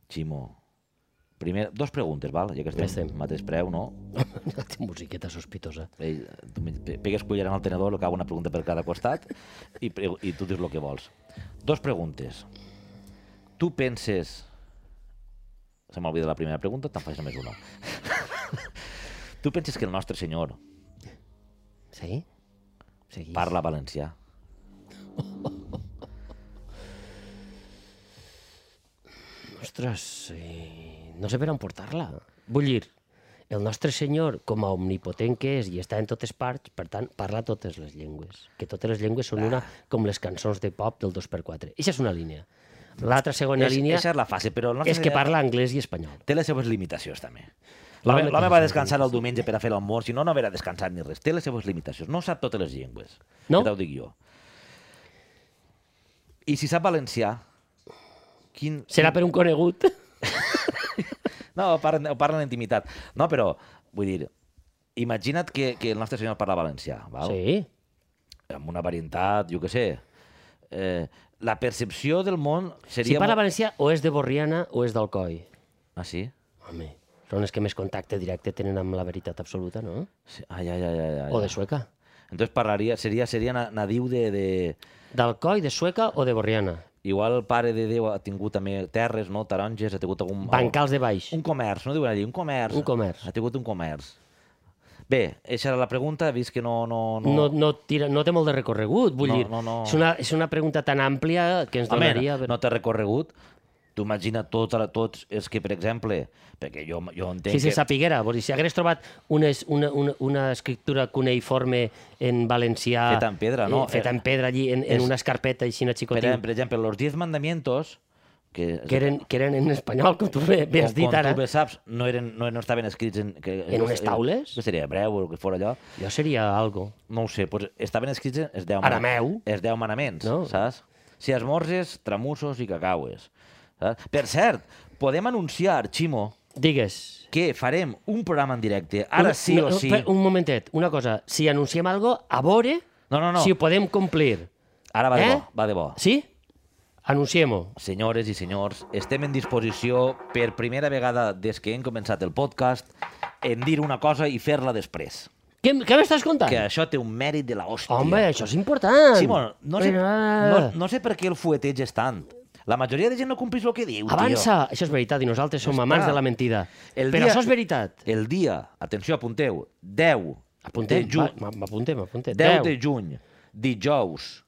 S1: Ximo... Primer, dos preguntes, val? Ja que estem,
S2: Estem.
S1: al mateix preu, no?
S2: té musiqueta sospitosa.
S1: Ei, tu me- pe- pegues cullera al tenedor, lo que hago una pregunta per cada costat i, pre- i tu dius el que vols. Dos preguntes. Tu penses... Se m'olvida la primera pregunta, te'n faig només una. tu penses que el nostre senyor
S2: Sí? Seguís.
S1: parla valencià?
S2: Ostres, sí. no sé per on portar-la. Vull dir, el nostre senyor, com a omnipotent que és i està en totes parts, per tant, parla totes les llengües. Que totes les llengües són una, com les cançons de pop del 2x4. Eixa és una línia. L'altra segona
S1: És-
S2: línia
S1: eixa és la fase, però el nostre
S2: és que
S1: senyor-
S2: parla anglès i espanyol.
S1: té les seves limitacions també.
S2: L'home
S1: L'home
S2: té
S1: l'home
S2: les
S1: va
S2: seves
S1: descansar el diumenge per a fer l'almor, si no, no haurà descansat ni res. Té les seves limitacions, no sap totes les llengües.
S2: No?
S1: Ja t'ho dic jo. I si sap valencià, quin...
S2: Serà per un conegut?
S1: No, ho parlen, ho parlen en intimitat. No, però, vull dir, imagina't que, que el nostre senyor parla valencià, val?
S2: Sí.
S1: amb una varietat, jo què sé. Eh, la percepció del món seria...
S2: Si parla
S1: molt-
S2: valencià, o és de Borriana o és d'Alcoi.
S1: Ah, sí?
S2: Home, són els que més contacte directe tenen amb la veritat absoluta, no?
S1: sí? Ai, ai, ai, ai, ai.
S2: O de Sueca.
S1: Entonces parlaria, seria, seria na- nadiu de, de...
S2: D'Alcoi, de Sueca o de Borriana.
S1: Igual el pare de Déu ha tingut també terres, no? Taronges, ha tingut algun...
S2: Bancals de baix.
S1: Un comerç, no diuen allí, un comerç.
S2: Un comerç.
S1: Ha tingut un comerç. Bé, aquesta era la pregunta, vist que no... no, no...
S2: no, no, tira, no té molt de recorregut, vull
S1: No,
S2: dir.
S1: no, no.
S2: És, una, és una pregunta tan àmplia que ens
S1: Home,
S2: donaria...
S1: no t'ha recorregut? Tu imagina tot, tots els que, per exemple, perquè jo, jo entenc
S2: si se
S1: que...
S2: sapiguera, vull dir, si hagués trobat una, es- una, una, una escriptura cuneiforme en valencià...
S1: Feta en pedra, no?
S2: eh, Feta en pedra allí, en, en
S1: És-
S2: una escarpeta així, una
S1: Per,
S2: xicotina,
S1: per exemple, los 10 mandamientos, que,
S2: que eren, que eren en espanyol, com tu bé, bé has
S1: com-
S2: dit
S1: com
S2: ara.
S1: tu bé saps, no, eren, no, no estaven escrits en... Que,
S2: eh? En unes taules?
S1: Que seria hebreu o el que fora allò.
S2: Jo seria algo.
S1: no ho sé, doncs estaven escrits en- els deu,
S2: Arameu.
S1: els deu manaments,
S2: No.
S1: no. saps? Si esmorzes, tramussos i cacaues. Saps? Per cert, podem anunciar, Ximo,
S2: Digues.
S1: que farem un programa en directe, ara
S2: Un-
S1: sí
S2: no,
S1: o
S2: no,
S1: sí.
S2: per- Un momentet, una cosa. Si anunciem algo, a veure
S1: No, no, no.
S2: si ho podem complir.
S1: Ara va de
S2: Eh?
S1: bo, va de bo.
S2: Sí? Anunciem-ho.
S1: Senyores i senyors, estem en disposició per primera vegada des que hem començat el podcast en dir una cosa i fer-la després.
S2: Què, què m'estàs contant?
S1: Que això té un mèrit de la hòstia.
S2: Home, això és important.
S1: Simón, no sé,
S2: Vinga.
S1: no, no sé per què el fueteges tant. La majoria de gent no complís el que diu, tio.
S2: Avança, això és veritat, i nosaltres som
S1: Està.
S2: amants de la mentida.
S1: El
S2: Però
S1: dia-
S2: això és veritat.
S1: El dia, atenció, apunteu, 10 de
S2: Apuntem, va,
S1: juny,
S2: ma- m'apuntem, m'apuntem.
S1: 10 de juny, dijous,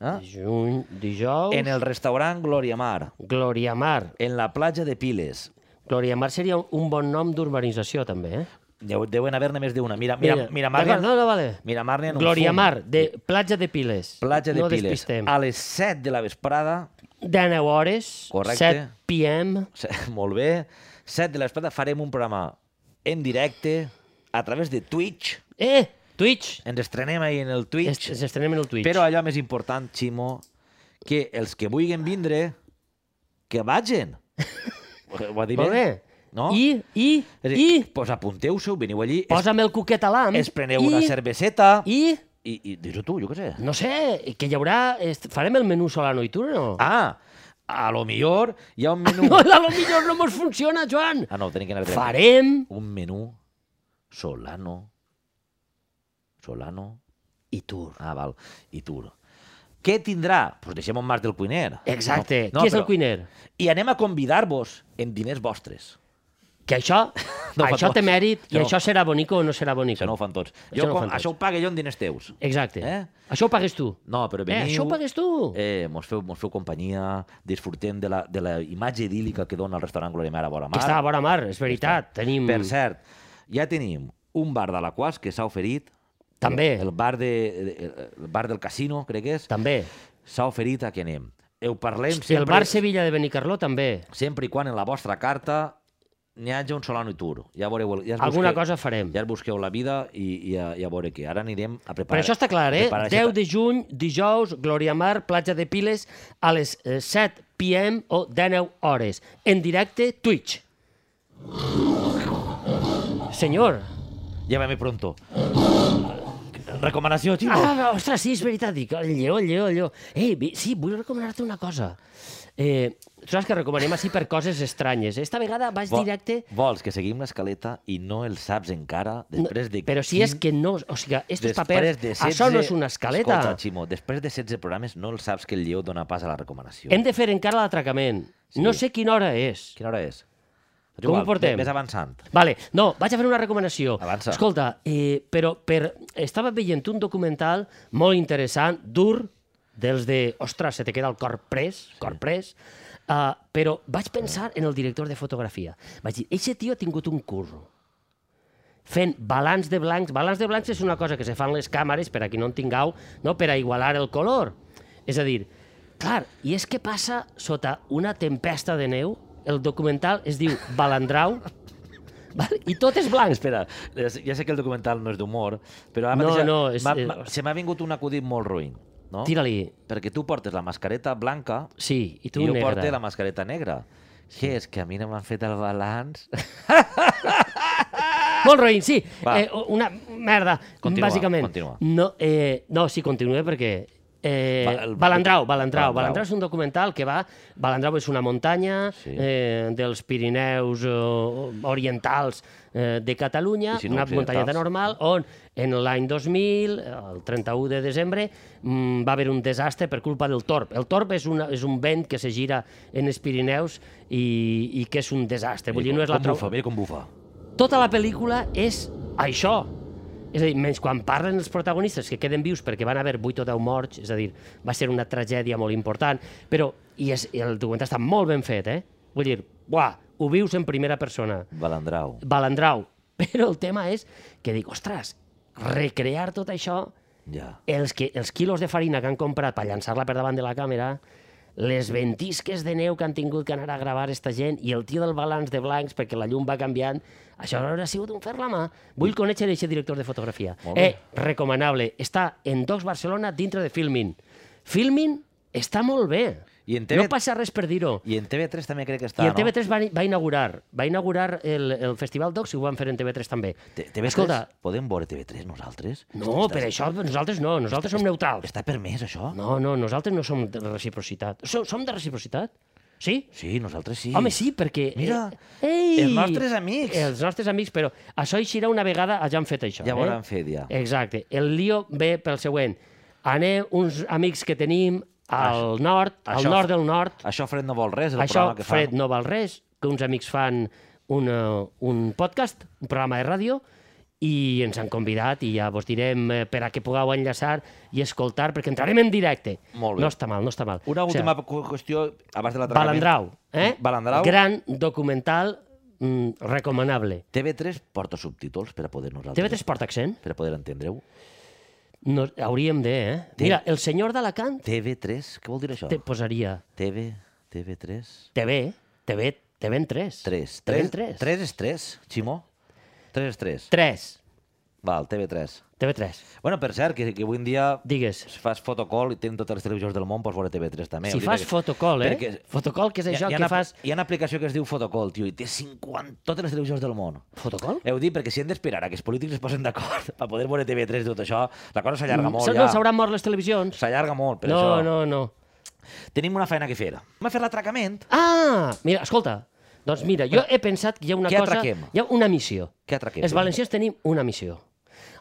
S1: eh?
S2: juny, dijous,
S1: en el restaurant Glòria Mar,
S2: Glòria Mar.
S1: en la platja de Piles.
S2: Glòria Mar seria un bon nom d'urbanització, també, eh?
S1: Deu, deuen haver-ne més d'una. Mira, mira, mira, mira
S2: d'acord, no, no, vale.
S1: mira Marne en un
S2: Glòria
S1: fum.
S2: Mar, de Platja de Piles.
S1: platja de
S2: no
S1: Piles. Ah.
S2: despistem.
S1: A les 7 de la vesprada,
S2: 19 hores,
S1: Correcte.
S2: 7 p.m.
S1: se- molt bé, 7 de la vesprada farem un programa en directe a través de Twitch.
S2: Eh, Twitch!
S1: Ens estrenem ahir en el Twitch.
S2: Ens estrenem en el Twitch.
S1: Però allò més important, Ximo, que els que vulguin vindre, que vagin. Ho ho ha dit
S2: Molt bé.
S1: No?
S2: I, i,
S1: És a
S2: i,
S1: dir, Pues apunteu-se, veniu allí, es,
S2: posa'm el cuquet a l'am.
S1: es preneu
S2: i,
S1: una cerveseta... I,
S2: I,
S1: i, i dis-ho tu, jo què sé.
S2: No sé, que hi haurà... est- Farem el menú Solano i Turno.
S1: Ah, a lo millor hi ha un menú...
S2: No, a lo millor no mos funciona, Joan.
S1: Ah, no, tenim que anar dret.
S2: Farem
S1: Un menú Solano. Solano.
S2: i tur.
S1: Ah, val. I tu. Què tindrà? Doncs pues deixem un març del cuiner.
S2: Exacte. No, Qui és el
S1: però-
S2: cuiner?
S1: I anem a convidar-vos en diners vostres.
S2: Que això,
S1: No
S2: no,
S1: ho fa
S2: això
S1: tot.
S2: té mèrit i
S1: Això no.
S2: això serà bonico o no serà bonico.
S1: Això no ho fan tots.
S2: Això
S1: Jo,
S2: no ho
S1: com,
S2: fan tots.
S1: això ho pague jo en diners teus.
S2: Exacte. Eh?
S1: Eh?
S2: Això ho pagues tu.
S1: No, però
S2: Eh,
S1: veniu...
S2: això ho pagues tu.
S1: Eh, mos, feu, mos feu companyia, disfrutem de la, de la imatge idíl·lica que dona el restaurant Glòria Mare a Vora
S2: Que
S1: Mar.
S2: està a vora mar, és veritat. Tenim...
S1: Per cert, ja tenim un bar de la Quas que s'ha oferit,
S2: També,
S1: el bar, de, el bar del casino, crec que és,
S2: també.
S1: s'ha oferit a que anem. Heu parlem
S2: I
S1: sempre,
S2: el bar Sevilla de Benicarló també.
S1: sempre i quan en la vostra carta n'hi hagi un Solano i Tur. Ja veureu... el- Ja es
S2: Alguna cosa farem.
S1: Ja es busqueu la vida i, i a, i a veure què. Ara anirem a
S2: Per
S1: preparar...
S2: això està clar, eh?
S1: preparar
S2: 10
S1: aquesta-
S2: de juny, dijous, Glòria Mar, platja de Piles, a les eh, 7 p.m. o 19 hores. En directe, Twitch. Senyor.
S1: Llévame pronto. Recomanació, Ximo. Ah.
S2: Ah, ostres, sí, és veritat. Dic, el lleó, el lleó, el lleó. Ei, vi- sí, vull recomanar-te una cosa. Eh, tu saps que recomanem així per coses estranyes. Esta vegada vas directe...
S1: Vols que seguim l'escaleta i no el saps encara després de...
S2: Però si és que no... O sigui, estos papers...
S1: de
S2: Això no és una escaleta.
S1: Escolta, Ximo, després de 16 programes no el saps que el lleó dona pas a la recomanació.
S2: Hem de fer encara l'atracament.
S1: Sí.
S2: No sé quina hora és.
S1: Quina hora és?
S2: Com ho portem?
S1: Més avançant.
S2: Vale, no, vaig a fer una recomanació.
S1: Avança.
S2: Escolta, eh, però per... estava veient un documental molt interessant, dur, dels de, ostres, se te queda el cor pres, cor pres, uh, però vaig pensar en el director de fotografia. Vaig dir, eixe tio ha tingut un curro fent balanç de blancs. Balanç de blancs és una cosa que se fan les càmeres, per a qui no en tingueu, no? per a igualar el color. És a dir, clar, i és que passa sota una tempesta de neu, el documental es diu Balandrau, val? i tot és blanc.
S1: Espera, es- ja sé que el documental no és d'humor, però ara
S2: No,
S1: mateix
S2: no, és-
S1: m'ha-
S2: eh,
S1: m'ha- se m'ha vingut un acudit molt ruïn. No?
S2: Tira-li.
S1: Perquè tu portes la mascareta blanca
S2: Sí, i
S1: i
S2: tu
S1: jo
S2: negra.
S1: porte la mascareta negra. Què és? Que a mi no m'han fet el balanç?
S2: Molt roïn, sí.
S1: Va.
S2: Eh, una merda,
S1: Continua,
S2: bàsicament.
S1: continua.
S2: No, eh, no, sí, continua perquè... Eh,
S1: Va, el-
S2: Balandrau, Balandrau.
S1: Balandrau.
S2: Balandrau és un documental que va... Balandrau és una muntanya
S1: Sí.
S2: eh, dels Pirineus eh, orientals eh, de Catalunya,
S1: I si no,
S2: una muntanyeta
S1: occidentals.
S2: normal, on en l'any 2000, el 31 de desembre, mm, va haver un desastre per culpa del torb. El torb és, una, és un vent que se gira en els Pirineus i, i que és un desastre. Vull dir, no és la
S1: com
S2: trau-
S1: bufa, mira com bufa.
S2: tota la pel·lícula és això. És a dir, menys quan parlen els protagonistes que queden vius perquè van haver 8 o 10 morts, és a dir, va ser una tragèdia molt important, però i és, i el documental està molt ben fet, eh? Vull dir, buah, ho vius en primera persona.
S1: Balandrau.
S2: Balandrau. Però el tema és que dic, ostres, recrear tot això,
S1: Ja.
S2: els, que, els quilos de farina que han comprat per llançar-la per davant de la càmera, les ventisques de neu que han tingut que anar a gravar esta gent i el tio del balanç de blancs perquè la llum va canviant, això haurà sigut un fer la mà. Vull conèixer aquest director de fotografia.
S1: Molt bé.
S2: Eh, recomanable. Està en Docs Barcelona dintre de Filmin. Filmin està molt bé.
S1: I en TV
S2: No passa res per dir-ho.
S1: I en TV3 també crec que està,
S2: I en
S1: no?
S2: TV3 va, va inaugurar, va inaugurar el, el Festival Docs i ho van fer en TV3 també.
S1: Te- TV3?
S2: Escolta,
S1: Podem veure TV3 nosaltres?
S2: no, per això nosaltres no, nosaltres som neutrals.
S1: Està permès, això?
S2: No, no, nosaltres no som de reciprocitat. Som, som de reciprocitat? Sí?
S1: Sí, nosaltres sí.
S2: Home, sí, perquè... eh,
S1: Mira,
S2: ei,
S1: els nostres amics.
S2: Els nostres amics, però això eixirà una vegada, ja han fet això.
S1: Ja ho
S2: eh?
S1: han fet, ja.
S2: Exacte. El lío ve pel següent. Anem uns amics que tenim al nord, al
S1: això-
S2: nord del nord.
S1: Això Fred no vol res, el
S2: Això,
S1: programa que fa.
S2: Fred, no val res, que uns amics fan un, eh, un podcast, un programa de ràdio, i ens han convidat i ja vos direm eh, per a què pugueu enllaçar i escoltar, perquè entrarem en directe.
S1: Molt bé.
S2: No està mal, no està mal.
S1: Una
S2: O sigui,
S1: última cu- qüestió, abans de la
S2: Balandrau, eh?
S1: Balandrau.
S2: Gran documental mm, recomanable.
S1: TV3 porta subtítols per a poder nosaltres...
S2: TV3 porta accent?
S1: Per a poder entendre-ho.
S2: No, hauríem de, eh?
S1: Té-
S2: Mira, el senyor d'Alacant
S1: TV3, què vol dir això?
S2: te posaria
S1: TV, TV3...
S2: TV, TV, TV en 3.
S1: 3.
S2: TV
S1: 3,
S2: en 3.
S1: 3 és 3, Ximó? 3 és 3.
S2: 3.
S1: Val, TV3.
S2: TV3.
S1: Bueno, per cert, que, que avui en dia
S2: Digues.
S1: si fas fotocall i tenen totes les televisions del món, pots veure TV3 també.
S2: Si
S1: Vull dir
S2: fas
S1: que-
S2: fotocall, eh?
S1: perquè-
S2: Fotocall, que és
S1: hi
S2: això
S1: ha,
S2: que
S1: una,
S2: fas...
S1: Hi ha una aplicació que es diu Fotocall, tio, i té 50... totes les televisions del món.
S2: Fotocall?
S1: Heu dit, perquè si hem d'esperar a que els polítics es posen d'acord per poder veure TV3 i tot això, la cosa s'allarga molt,
S2: S'ha-
S1: ja.
S2: Mm, No, s'hauran mort les televisions.
S1: S'allarga molt, per
S2: no,
S1: això.
S2: no, no.
S1: Tenim una feina que fer. Hem de fer l'atracament.
S2: Ah! Mira, escolta. Doncs mira, jo he pensat que hi ha una
S1: Què
S2: cosa...
S1: atraquem?
S2: Hi ha una missió.
S1: Què atraquem?
S2: Els valencians tenim una missió.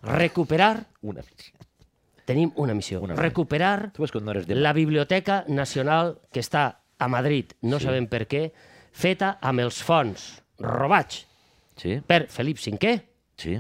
S2: Recuperar
S1: Una.
S2: tenim una missió,
S1: Una
S2: una
S1: missió.
S2: recuperar
S1: Tu veus que no eres de...
S2: la Biblioteca Nacional que està a Madrid, no sí. sabem per què, feta amb els fons robats
S1: Sí,
S2: per Felip V
S1: sí.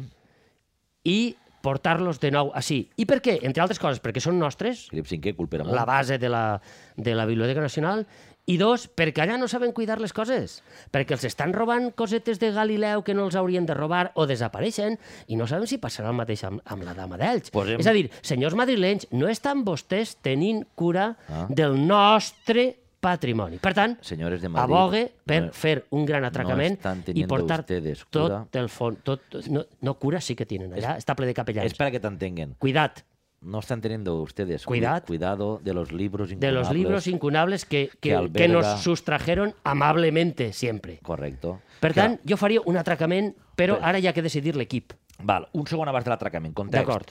S2: i portar-los de nou així. I per què? Entre altres coses, perquè són nostres,
S1: Filip Cinquè, culpera molt.
S2: la base de la, de la Biblioteca Nacional, i dos, perquè allà no saben cuidar les coses, perquè els estan robant cosetes de Galileu que no els haurien de robar o desapareixen, i no sabem si passarà el mateix amb, amb la dama d'Elx.
S1: Posem-
S2: És a dir, senyors madrilenys, no estan vostès tenint cura
S1: Ah.
S2: ah. del nostre patrimoni. Per tant,
S1: Senyores de
S2: a
S1: Madrid,
S2: Bogue per
S1: no-
S2: fer un gran atracament
S1: estan
S2: i
S1: teniendo
S2: portar
S1: ustedes cura.
S2: tot el fons. Tot, no, no cura sí que tenen allà, està ple de capellans.
S1: Es para que te entenguen.
S2: Cuidat
S1: No están teniendo ustedes cu-
S2: Cuidad.
S1: cuidado de los libros
S2: de los libros
S1: incunables.
S2: incunables que, que,
S1: que
S2: que,
S1: alberga-
S2: nos sustrajeron amablemente siempre.
S1: Correcto.
S2: Per
S1: Clar,
S2: tant, jo faria un atracament, però
S1: Bé.
S2: ara ja que decidir l'equip.
S1: Val, un segon abans de l'atracament, context.
S2: D'acord.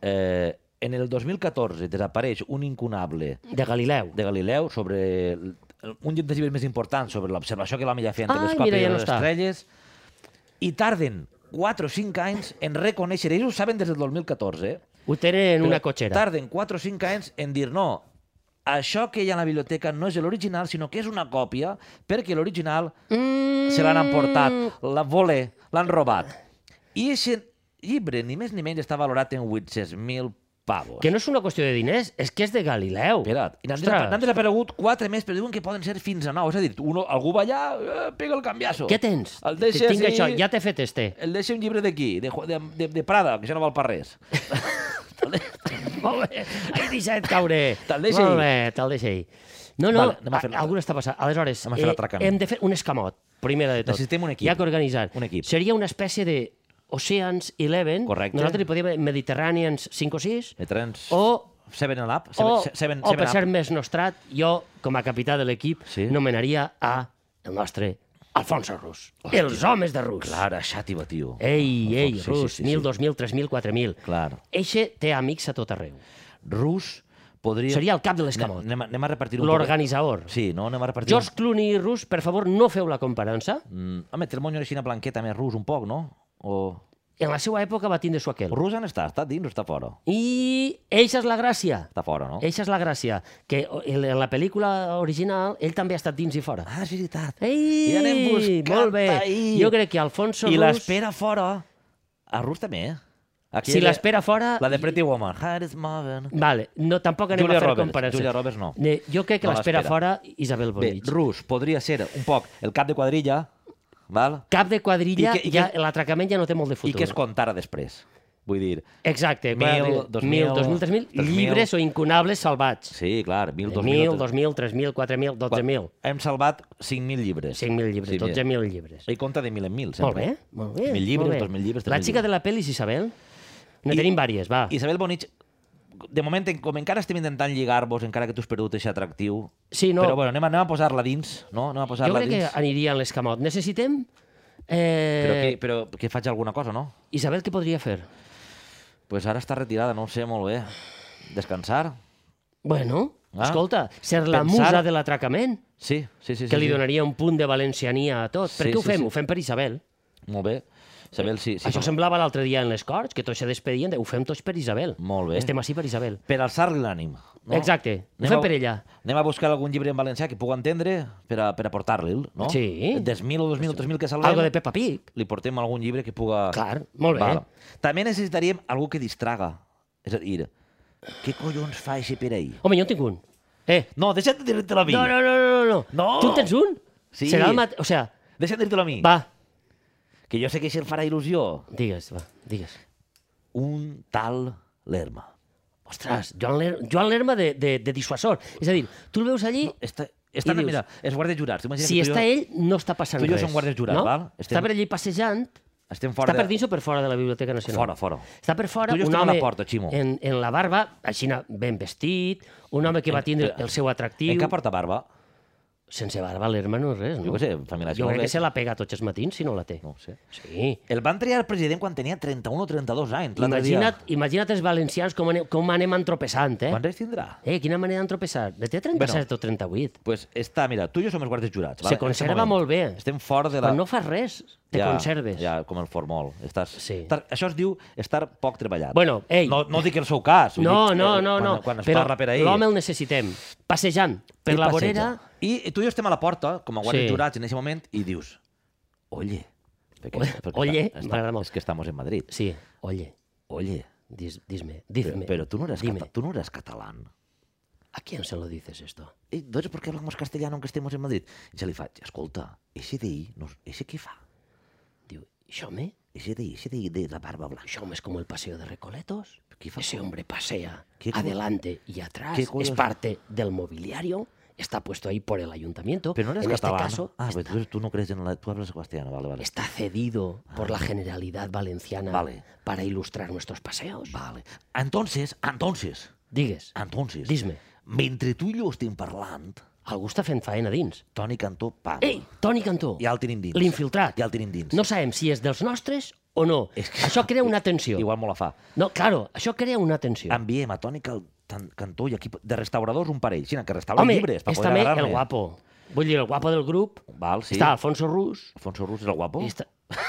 S1: Eh, en el 2014 desapareix un incunable
S2: De Galileu.
S1: de Galileu sobre el- un dels llibres més importants sobre l'observació que l'home ja feia en
S2: Ai,
S1: telescopi
S2: Ah, mira,
S1: de
S2: ja no
S1: les
S2: està.
S1: estrelles i tarden 4 o 5 anys en reconèixer, ells ho saben des del 2014, eh?
S2: Ho tenen en
S1: Però
S2: una cotxera.
S1: Tarden 4 o 5 anys en dir no, això que hi ha a la biblioteca no és l'original, sinó que és una còpia, perquè l'original
S2: Mm,
S1: se l'han emportat, la voler, l'han robat. I aquest llibre, ni més ni menys, està valorat en 800.000 pavos.
S2: Que no és una qüestió de diners, és que és de Galileu.
S1: Espera't, i n'han
S2: Ostres,
S1: desapa- n'han desaparegut quatre més, però diuen que poden ser fins a nou. És a dir, uno, algú va allà, eh, pega el canviasso.
S2: Què tens?
S1: El
S2: Que
S1: deixa,
S2: Tinc
S1: així,
S2: això, ja t'he fet este.
S1: el deixa un llibre d'aquí, de, Ju- de, de, de, Prada, que ja no val per res.
S2: Molt bé. Ai, deixa't caure.
S1: Te'l deixa
S2: Molt
S1: ahir.
S2: bé, te'l deixa ahir. No, no,
S1: Vale, anem a
S2: a-
S1: fer l'altre.
S2: alguna està passant. Aleshores, eh,
S1: Anem a fer l'atracament.
S2: hem de fer un escamot, primera de tot.
S1: Necessitem un equip.
S2: Hi ha que organitzar.
S1: Un equip.
S2: Seria una espècie de Oceans Eleven.
S1: Correcte.
S2: Nosaltres li podíem dir Mediterraneans 5 o 6.
S1: De trens...
S2: O
S1: 7 Up.
S2: o,
S1: 7, 7,
S2: o Oh. per ser més nostrat, jo, com a capità de l'equip,
S1: Sí.
S2: nomenaria a el nostre Alfonso Rus. Els homes de Rus.
S1: Clara, xàtiva, tio.
S2: Ei, ei,
S1: Sí, sí,
S2: Rus,
S1: sí, sí.
S2: 1.000, 2.000, 3.000, 4.000.
S1: Clar.
S2: Eixe té amics a tot arreu.
S1: Rus podria...
S2: Seria el cap de l'escamot.
S1: Anem, anem a repartir un
S2: L'organitzador.
S1: poc- Sí, no? Anem a repartir...
S2: George Clooney i Rus, per favor, no feu la comparança.
S1: Mm, home, té el monyo així una blanqueta més rus un poc, no? O...
S2: En la seva època va tindre su aquel.
S1: Rus on està? Està dins o està fora?
S2: I eixa és la gràcia.
S1: Està fora, no?
S2: Eixa és la gràcia. Que en la pel·lícula original ell també ha estat dins i fora.
S1: Ah, és veritat.
S2: Ei,
S1: I anem buscant
S2: molt bé.
S1: ahí.
S2: Jo crec que Alfonso
S1: I
S2: Rus,
S1: l'espera fora. A Rus també, eh? Aquí
S2: si
S1: era-
S2: l'espera fora...
S1: La de Pretty Woman. Heart is moving.
S2: Vale, no, tampoc anem
S1: Julia
S2: a fer
S1: Roberts,
S2: comparances.
S1: Julia Roberts no.
S2: Ne- Jo crec que
S1: No
S2: l'espera
S1: l'espera.
S2: fora Isabel
S1: Bé,
S2: Bonich.
S1: Rus podria ser un poc el cap de quadrilla, val?
S2: Cap de quadrilla,
S1: I que- i que-
S2: ja, l'atracament ja no té molt de
S1: I
S2: futur.
S1: que es contara després. Vull dir,
S2: Exacte,
S1: Mil, dos mil,
S2: 2.000, 3.000,
S1: tres mil.
S2: llibres o incunables salvats.
S1: sí, clar, 1.000,
S2: 1.000,
S1: 2.000...
S2: 2.000, 3.000, 4.000, 12.000.
S1: Hem salvat 5.000 llibres.
S2: 5.000 llibres, 12.000 llibres.
S1: I compta de 1.000 en 1.000, sempre.
S2: Molt bé, molt bé.
S1: 1.000 llibres,
S2: molt bé.
S1: 2.000 llibres, 3.000
S2: La xica de la pel·li és Isabel? Ne tenim vàries, va.
S1: Isabel Bonich, de moment, en- com encara estem intentant lligar-vos, encara que tu has perdut aquest atractiu,
S2: Sí, no.
S1: però bueno, anem, a- anem a posar-la dins, no? Anem a
S2: Jo
S1: posar-la
S2: crec que
S1: dins.
S2: aniria a l'escamot. Necessitem...
S1: Però, que,
S2: Eh,
S1: però que faig alguna cosa, no?
S2: Isabel, què podria fer?
S1: Pues ara està retirada, no ho sé molt bé. Descansar?
S2: Bueno,
S1: Ah.
S2: escolta, ser la
S1: Pensar-
S2: musa de l'atracament,
S1: Sí, sí, sí.
S2: que
S1: sí,
S2: li
S1: sí.
S2: donaria un punt de valenciania a tot. Per
S1: Sí,
S2: què ho
S1: sí,
S2: fem?
S1: sí.
S2: Ho fem per Isabel.
S1: Molt bé. Isabel, sí, sí.
S2: Això
S1: com-
S2: semblava l'altre dia en les Corts, que tots se despedien, de, ho fem tots per Isabel.
S1: Molt bé.
S2: Estem així per Isabel.
S1: Per alçar-li l'ànim. No?
S2: Exacte, ho
S1: Anem
S2: fem
S1: a-
S2: per ella.
S1: Anem a buscar algun llibre en valencià que pugui entendre per, a, per aportar-li'l, no?
S2: Sí.
S1: Des 1.000 o 2.000 o 3.000 que salvem,
S2: Algo de Peppa Pig.
S1: li portem algun llibre que puga...
S2: Clar, molt bé.
S1: També necessitaríem algú que distraga. És a dir, què collons fa així per ahir?
S2: Home, jo en tinc un. Eh,
S1: No, deixa't de dir-te-la a mi.
S2: no, no, no, no, no.
S1: No.
S2: Tu en tens un?
S1: Sí.
S2: Serà el mat... O sea,
S1: Deixa't de dir-te-la a mi.
S2: va,
S1: Que jo sé que això et farà il·lusió.
S2: digues, va, digues.
S1: Un tal Lerma.
S2: Ostres, Joan, Ler Joan Lerma de, de, de dissuasor. És a dir, tu el veus allí,
S1: Està, està
S2: I
S1: dius,
S2: dius-
S1: mira, és guàrdia jurat. T'imagines
S2: si
S1: que tu i
S2: està
S1: jo
S2: ell, no està passant
S1: tu i jo
S2: res.
S1: som guàrdies jurats,
S2: no?
S1: val?
S2: Està
S1: Estem-
S2: per allí passejant,
S1: Estem fora
S2: està per dins o per fora de la Biblioteca
S1: de...
S2: Nacional?
S1: Fora, fora.
S2: Està per fora
S1: Tu i jo
S2: un
S1: estem a la
S2: home
S1: porta, Ximo.
S2: en, en la barba, així ben vestit, un home que va tindre el seu atractiu.
S1: En què porta barba?
S2: Sense barba l'Herma no és res, no?
S1: Jo què sé, familiació
S2: Jo crec
S1: anglesa.
S2: que se la pega tots els matins si no la té.
S1: No ho sé.
S2: Sí.
S1: El van triar president quan tenia 31 o 32 anys. l'altre dia.
S2: Imagina't, imagina't els valencians com anem, com anem entropessant, eh?
S1: Quants anys tindrà?
S2: Eh, quina manera d'entropessar. De té 37 o 38.
S1: Pues està, mira, tu i jo som els guàrdies jurats.
S2: Se conserva
S1: Estem-
S2: molt bé.
S1: Estem fora de la...
S2: Quan no fas res, te conserves.
S1: Ja, com el formol. Estàs,
S2: Sí.
S1: estar, això es diu estar poc treballat.
S2: Bueno, ei.
S1: No, no dic el seu cas. vull
S2: No,
S1: dir,
S2: no,
S1: eh,
S2: no,
S1: quan,
S2: no.
S1: Quan es
S2: Però
S1: parla per ahir...
S2: l'home el necessitem. Passejant per
S1: ell
S2: la
S1: passeja.
S2: vorera...
S1: I tu i jo estem a la porta, com a guàrdies
S2: Sí.
S1: jurats en aquest moment, i dius, oye, perquè, perquè
S2: Oye,
S1: està- està-
S2: m'agrada molt.
S1: És que estamos en Madrid.
S2: Sí, oye,
S1: Oye,
S2: dis, disme,
S1: però,
S2: dime.
S1: pero tú, no eres
S2: dime.
S1: cata- tú no eres catalán.
S2: ¿A quién se lo dices esto?
S1: Eh, Entonces, ¿por qué hablamos castellano aunque estemos en Madrid? I se li faig, escolta, ese d'ahir, no, ese què fa?
S2: Digo, ¿yo me?
S1: Ese d'ahí, ese d'ahí de la barba blanca.
S2: Yo me es como el paseo de Recoletos.
S1: ¿Qué fa-
S2: Ese hombre pasea
S1: ¿Qué co-
S2: adelante y atrás.
S1: qué
S2: Es
S1: cosas-
S2: parte del mobiliario. está puesto ahí por el ayuntamiento.
S1: Pero no eres
S2: en este
S1: catalán.
S2: caso,
S1: ah,
S2: está,
S1: pues tú, tú no crees en la... Tú hablas castellano, vale, vale.
S2: está cedido por la Generalidad Valenciana
S1: Vale.
S2: para ilustrar nuestros paseos.
S1: Vale. Ah, Entonces, entonces,
S2: Digues,
S1: entonces...
S2: Dis-me.
S1: Mentre tu i jo estem parlant,
S2: algú està fent faena dins.
S1: Toni Cantó, pam.
S2: Ei, Toni Cantó,
S1: Ja el tenim dins.
S2: l'infiltrat.
S1: Ja el tenim dins.
S2: No sabem si és dels nostres o no.
S1: És que-
S2: Això crea una tensió.
S1: Igual molt la fa.
S2: No, claro, això crea una tensió.
S1: Enviem a Toni Cal- Tan- Cantó i equip de restauradors un parell, sinó que restaura
S2: Home,
S1: llibres. per
S2: és
S1: poder
S2: també el
S1: agarrar-ne.
S2: guapo. Vull dir, el guapo del grup.
S1: Val, sí. Oh.
S2: Està Alfonso Rus.
S1: Alfonso Rus és el guapo?
S2: i Està...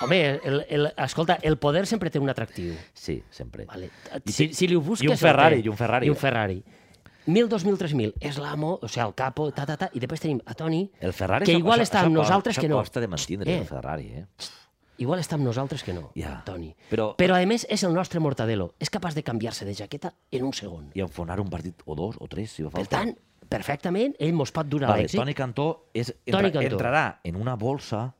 S2: Home, el, el, escolta, el poder sempre té un atractiu.
S1: Sí, sempre.
S2: Vale.
S1: I
S2: Si,
S1: sí-
S2: si li ho busques...
S1: I
S2: el
S1: un Ferrari,
S2: té.
S1: i un Ferrari.
S2: I un Ferrari. 1.000, 2.000, 3.000. És l'amo, o sigui, el capo, ta, ta, ta. I després tenim a Toni,
S1: El Ferrari
S2: que
S1: això-
S2: igual
S1: això-
S2: està
S1: això
S2: amb
S1: costa-
S2: nosaltres
S1: això
S2: que no.
S1: costa de mantindre,
S2: Eh.
S1: el Ferrari, eh?
S2: igual està amb nosaltres que no,
S1: Ja.
S2: Toni.
S1: Però-
S2: Però, a més, és el nostre mortadelo. És capaç de canviar-se de jaqueta en un segon.
S1: I enfonar un partit o dos o tres, si fa
S2: Per
S1: falta.
S2: tant, perfectament, ell mos pot durar
S1: Vale,
S2: l'èxit.
S1: Toni Cantó, és, entra,
S2: Toni Cantó.
S1: entrarà en una bolsa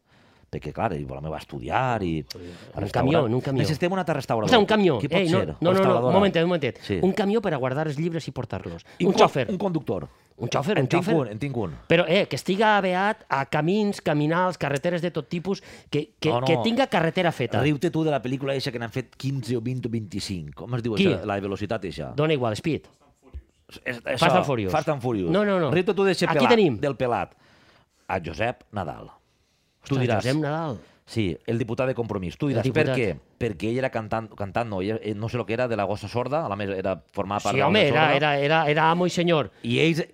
S1: perquè, clar, ell també va estudiar i...
S2: un camió, en un camió.
S1: Necessitem un altre restaurador.
S2: Hòstia, un camió.
S1: Qui pot
S2: Ei, no,
S1: ser?
S2: no, no, no,
S1: Restauradora.
S2: un momentet, un momentet.
S1: Sí.
S2: Un camió per a guardar els llibres i portar-los.
S1: I
S2: Un,
S1: co-
S2: xòfer.
S1: Un conductor.
S2: Un xòfer,
S1: En
S2: un
S1: tinc
S2: xòfer.
S1: un, en tinc un.
S2: Però, eh, que estiga beat a camins, caminals, carreteres de tot tipus, que, que,
S1: No, no.
S2: que tinga carretera feta.
S1: Riu-te tu de la pel·lícula eixa que n'han fet 15 o 20 o 25. Com es diu
S2: Qui?
S1: això? La velocitat eixa.
S2: Dona igual, Speed.
S1: És- això,
S2: Fast and Furious.
S1: Fast and Furious.
S2: No, no, no.
S1: Riu-te tu d'eixe
S2: Aquí
S1: pelat,
S2: tenim.
S1: del pelat. A Josep Nadal. Tu
S2: Ostres,
S1: diràs...
S2: Josep Nadal.
S1: Sí, el diputat de Compromís. Tu diràs, per
S2: diputat.
S1: què? Perquè ell era cantant, cantant no, ell, eh, no sé el que era, de la gossa sorda, a la més era formar part
S2: Sí,
S1: de la
S2: home,
S1: gossa
S2: era,
S1: sorda.
S2: era, era, era amo i senyor.
S1: I ells...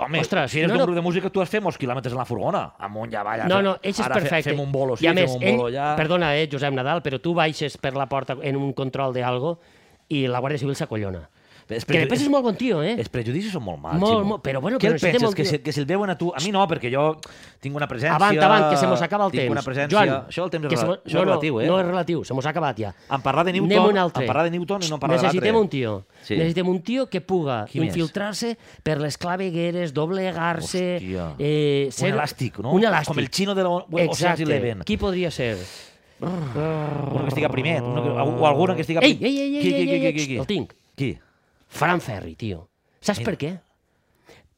S1: Home,
S2: Ostres,
S1: si eres
S2: no,
S1: d'un
S2: no.
S1: grup de música, tu has fet molts quilòmetres en la furgona, amunt i avall.
S2: No, no, ells és
S1: Ara fe-
S2: perfecte.
S1: Fem un bolo, sí,
S2: I a més,
S1: fem un
S2: ell,
S1: bolo allà...
S2: perdona, eh, Josep Nadal, però tu baixes per la porta en un control d'algo i la Guàrdia Civil s'acollona.
S1: És
S2: Que
S1: preju-
S2: després és molt bon tio, eh?
S1: Els prejudicis són molt mals.
S2: Molt,
S1: Ximo.
S2: molt, però bueno,
S1: Què
S2: però
S1: el
S2: necessitem
S1: penses?
S2: un
S1: Que
S2: tio-
S1: si, que si el veuen a tu... A mi no, perquè jo tinc una presència...
S2: Avant, avant, que se mos acaba el
S1: tinc
S2: temps.
S1: una presència...
S2: Joan,
S1: això el temps
S2: que
S1: és,
S2: se
S1: rela-
S2: mos-
S1: això és relatiu, eh?
S2: No és relatiu, se mos ha acabat ja.
S1: En parlar de Newton-
S2: Anem a un altre.
S1: en parlar de Newton i no en parlar de
S2: Necessitem
S1: l'altre.
S2: un tio.
S1: Sí.
S2: Necessitem un tio que puga
S1: Qui més?
S2: infiltrar-se per les clavegueres, doblegar-se...
S1: Hòstia.
S2: Eh,
S1: Un elàstic, no?
S2: Un elàstic.
S1: Com el xino de la- Ocean's
S2: Exacte.
S1: Eleven.
S2: Qui podria ser?
S1: Un que estiga primet, un que, o alguna que estiga...
S2: Oh. Ei,
S1: prim-
S2: ei, ei, ei,
S1: Qui,
S2: ei,
S1: qui,
S2: ei,
S1: qui,
S2: ei,
S1: qui, qui?
S2: el tinc.
S1: Qui?
S2: Fran Ferri, tio. Saps per què?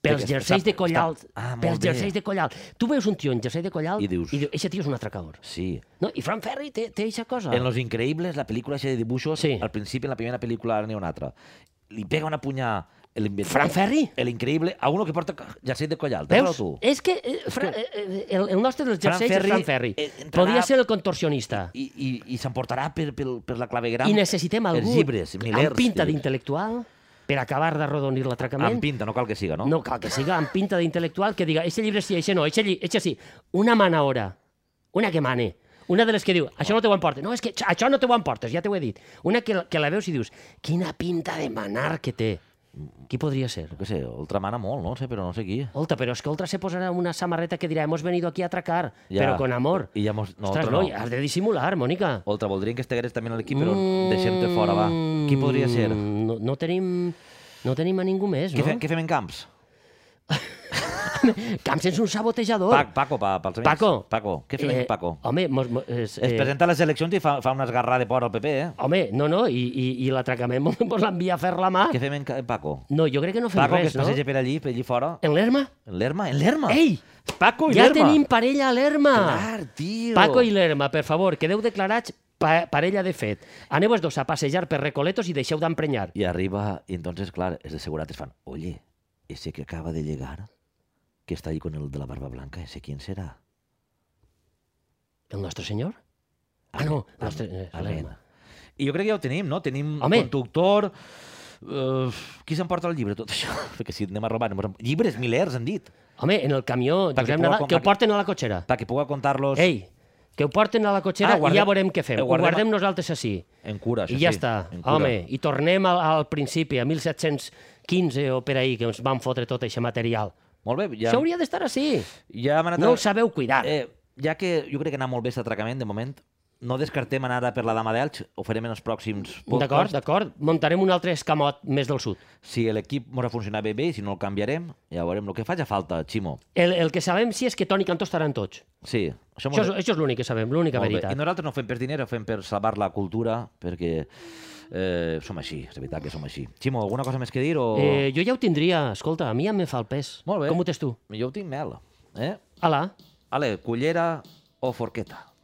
S2: Pels
S1: Perquè
S2: jerseis
S1: està-
S2: de collalt.
S1: està- Ah, molt
S2: pels
S1: bé.
S2: jerseis de collalt. Tu veus un tio en jersei de collalt
S1: I dius-
S2: I dius eixe tio és un atracador.
S1: Sí.
S2: No, I Fran Ferri té, té eixa cosa.
S1: En Los Increíbles, la pel·lícula aquesta de dibuixos,
S2: Ah. Sí.
S1: al principi, en la primera pel·lícula, ara n'hi ha una altra. Li pega una punyà... El invent...
S2: Fran Ferri?
S1: El increïble, a uno que porta jersey de collal.
S2: Veus?
S1: Tu?
S2: És que eh, Fra, eh, eh, el, el nostre dels
S1: Fran
S2: jerseis
S1: Ferri,
S2: és Fran Ferri.
S1: eh, entrarà-
S2: Podria ser el contorsionista. I,
S1: I, i, i s'emportarà per, per, per la clavegram.
S2: I necessitem algú
S1: Els llibres, milers.
S2: amb pinta
S1: de llibres.
S2: d'intel·lectual per acabar d'arrodonir l'atracament.
S1: Amb pinta, no cal que siga, no?
S2: No cal que siga amb pinta d'intel·lectual que diga, eixe llibre sí, eixe no, eixe, lli- eixe sí. Una mana hora, una que mane. Una de les que diu, això no te ho emportes. No, és que això- això no te ho emportes, ja t'ho he dit. Una que, que la veus i dius, quina pinta de manar que té. Qui podria ser?
S1: Jo què sé, ultramana molt, no sé, però no sé qui.
S2: Olta, però és que Oltra se posarà una samarreta que dirà hemos venido aquí a atracar,
S1: Ja.
S2: però con amor.
S1: I ja mos- no,
S2: Ostres,
S1: Oltra
S2: no,
S1: no.
S2: has de dissimular, Mònica.
S1: Oltra, voldrien que estigueres també a l'equip, però deixem-te fora, va. Qui podria ser?
S2: Mm, No, no tenim... No tenim a ningú més,
S1: Què,
S2: no?
S1: fe, què fem en camps?
S2: Camps és un sabotejador.
S1: Pac, Paco, pa, pels amics.
S2: Paco. eh.
S1: Paco. Què fem eh, en Paco?
S2: Home, mos, mos, és,
S1: Es presenta a les eleccions i fa, fa una esgarrada de por al PP, eh?
S2: Home, no, no, i, i, i l'atracament mos mos l'envia a fer la mà.
S1: Què fem en, ca- en Paco?
S2: No, jo crec que no fem
S1: Paco, que
S2: res,
S1: es
S2: no?
S1: passeja Ah. per allí, per allí fora.
S2: En l'Erma?
S1: En l'Erma, en l'Erma.
S2: Ei!
S1: Paco i
S2: Ja
S1: l'Erma.
S2: tenim parella a l'Erma!
S1: Clar, tio.
S2: Paco i l'Erma, per favor, quedeu declarats pa parella de fet. Aneu els dos a passejar per Recoletos i deixeu d'emprenyar.
S1: I arriba, i entonces, clar, els de seguretat fan, oye, ese que acaba de llegar, que está ahí con el de la barba blanca, ese quién será?
S2: El nostre senyor? Ah, no, el nostre... eh,
S1: Amén.
S2: l'Erma.
S1: I jo crec que ja ho tenim, no? Tenim
S2: Home.
S1: conductor... Uh, qui s'emporta el llibre, tot això? Perquè si anem a robar... Anem a... robar- Llibres, milers, han dit.
S2: Home, en el camió,
S1: Perquè
S2: Josep
S1: puga
S2: Nadal,
S1: com-
S2: que ho
S1: perquè-
S2: porten a la cotxera.
S1: Perquè puga contar-los
S2: Ei, que ho porten a la cotxera
S1: Ah, guardem-
S2: i ja veurem què fem.
S1: eh,
S2: Ho
S1: guardem-
S2: guardem, nosaltres així.
S1: en cura, això
S2: I ja
S1: sí,
S2: està,
S1: en cura.
S2: home, i tornem al, al principi, a 1715 o per ahir, que ens van fotre tot aquest material.
S1: Molt bé,
S2: Ja.
S1: ja,
S2: Això hauria d'estar així.
S1: ja hem anat...
S2: No
S1: a-
S2: ho sabeu cuidar. Eh.
S1: Eh, ja que jo crec que anar molt bé aquest atracament, de moment, no descartem anar ara per la Dama d'Elx, ho farem en els pròxims
S2: D'acord, d'acord. Muntarem un altre escamot més del sud.
S1: Si l'equip mos ha funcionat bé bé, i si no el canviarem, ja veurem el que faci falta, Ximo.
S2: El, el que sabem sí és que Toni Cantó estaran tots.
S1: Sí, això, mos-
S2: Això és, això és l'únic que sabem, l'única
S1: Molt bé.
S2: veritat.
S1: I nosaltres no ho fem per diner, ho fem per salvar la cultura, perquè eh, som així, és veritat que som així. Ximo, alguna cosa més que dir? O...
S2: Eh, jo ja ho tindria, escolta, a mi ja em fa el pes.
S1: Molt bé.
S2: Com ho tens tu?
S1: Jo ho tinc mel. Eh?
S2: Ala.
S1: Ale, cullera o forqueta?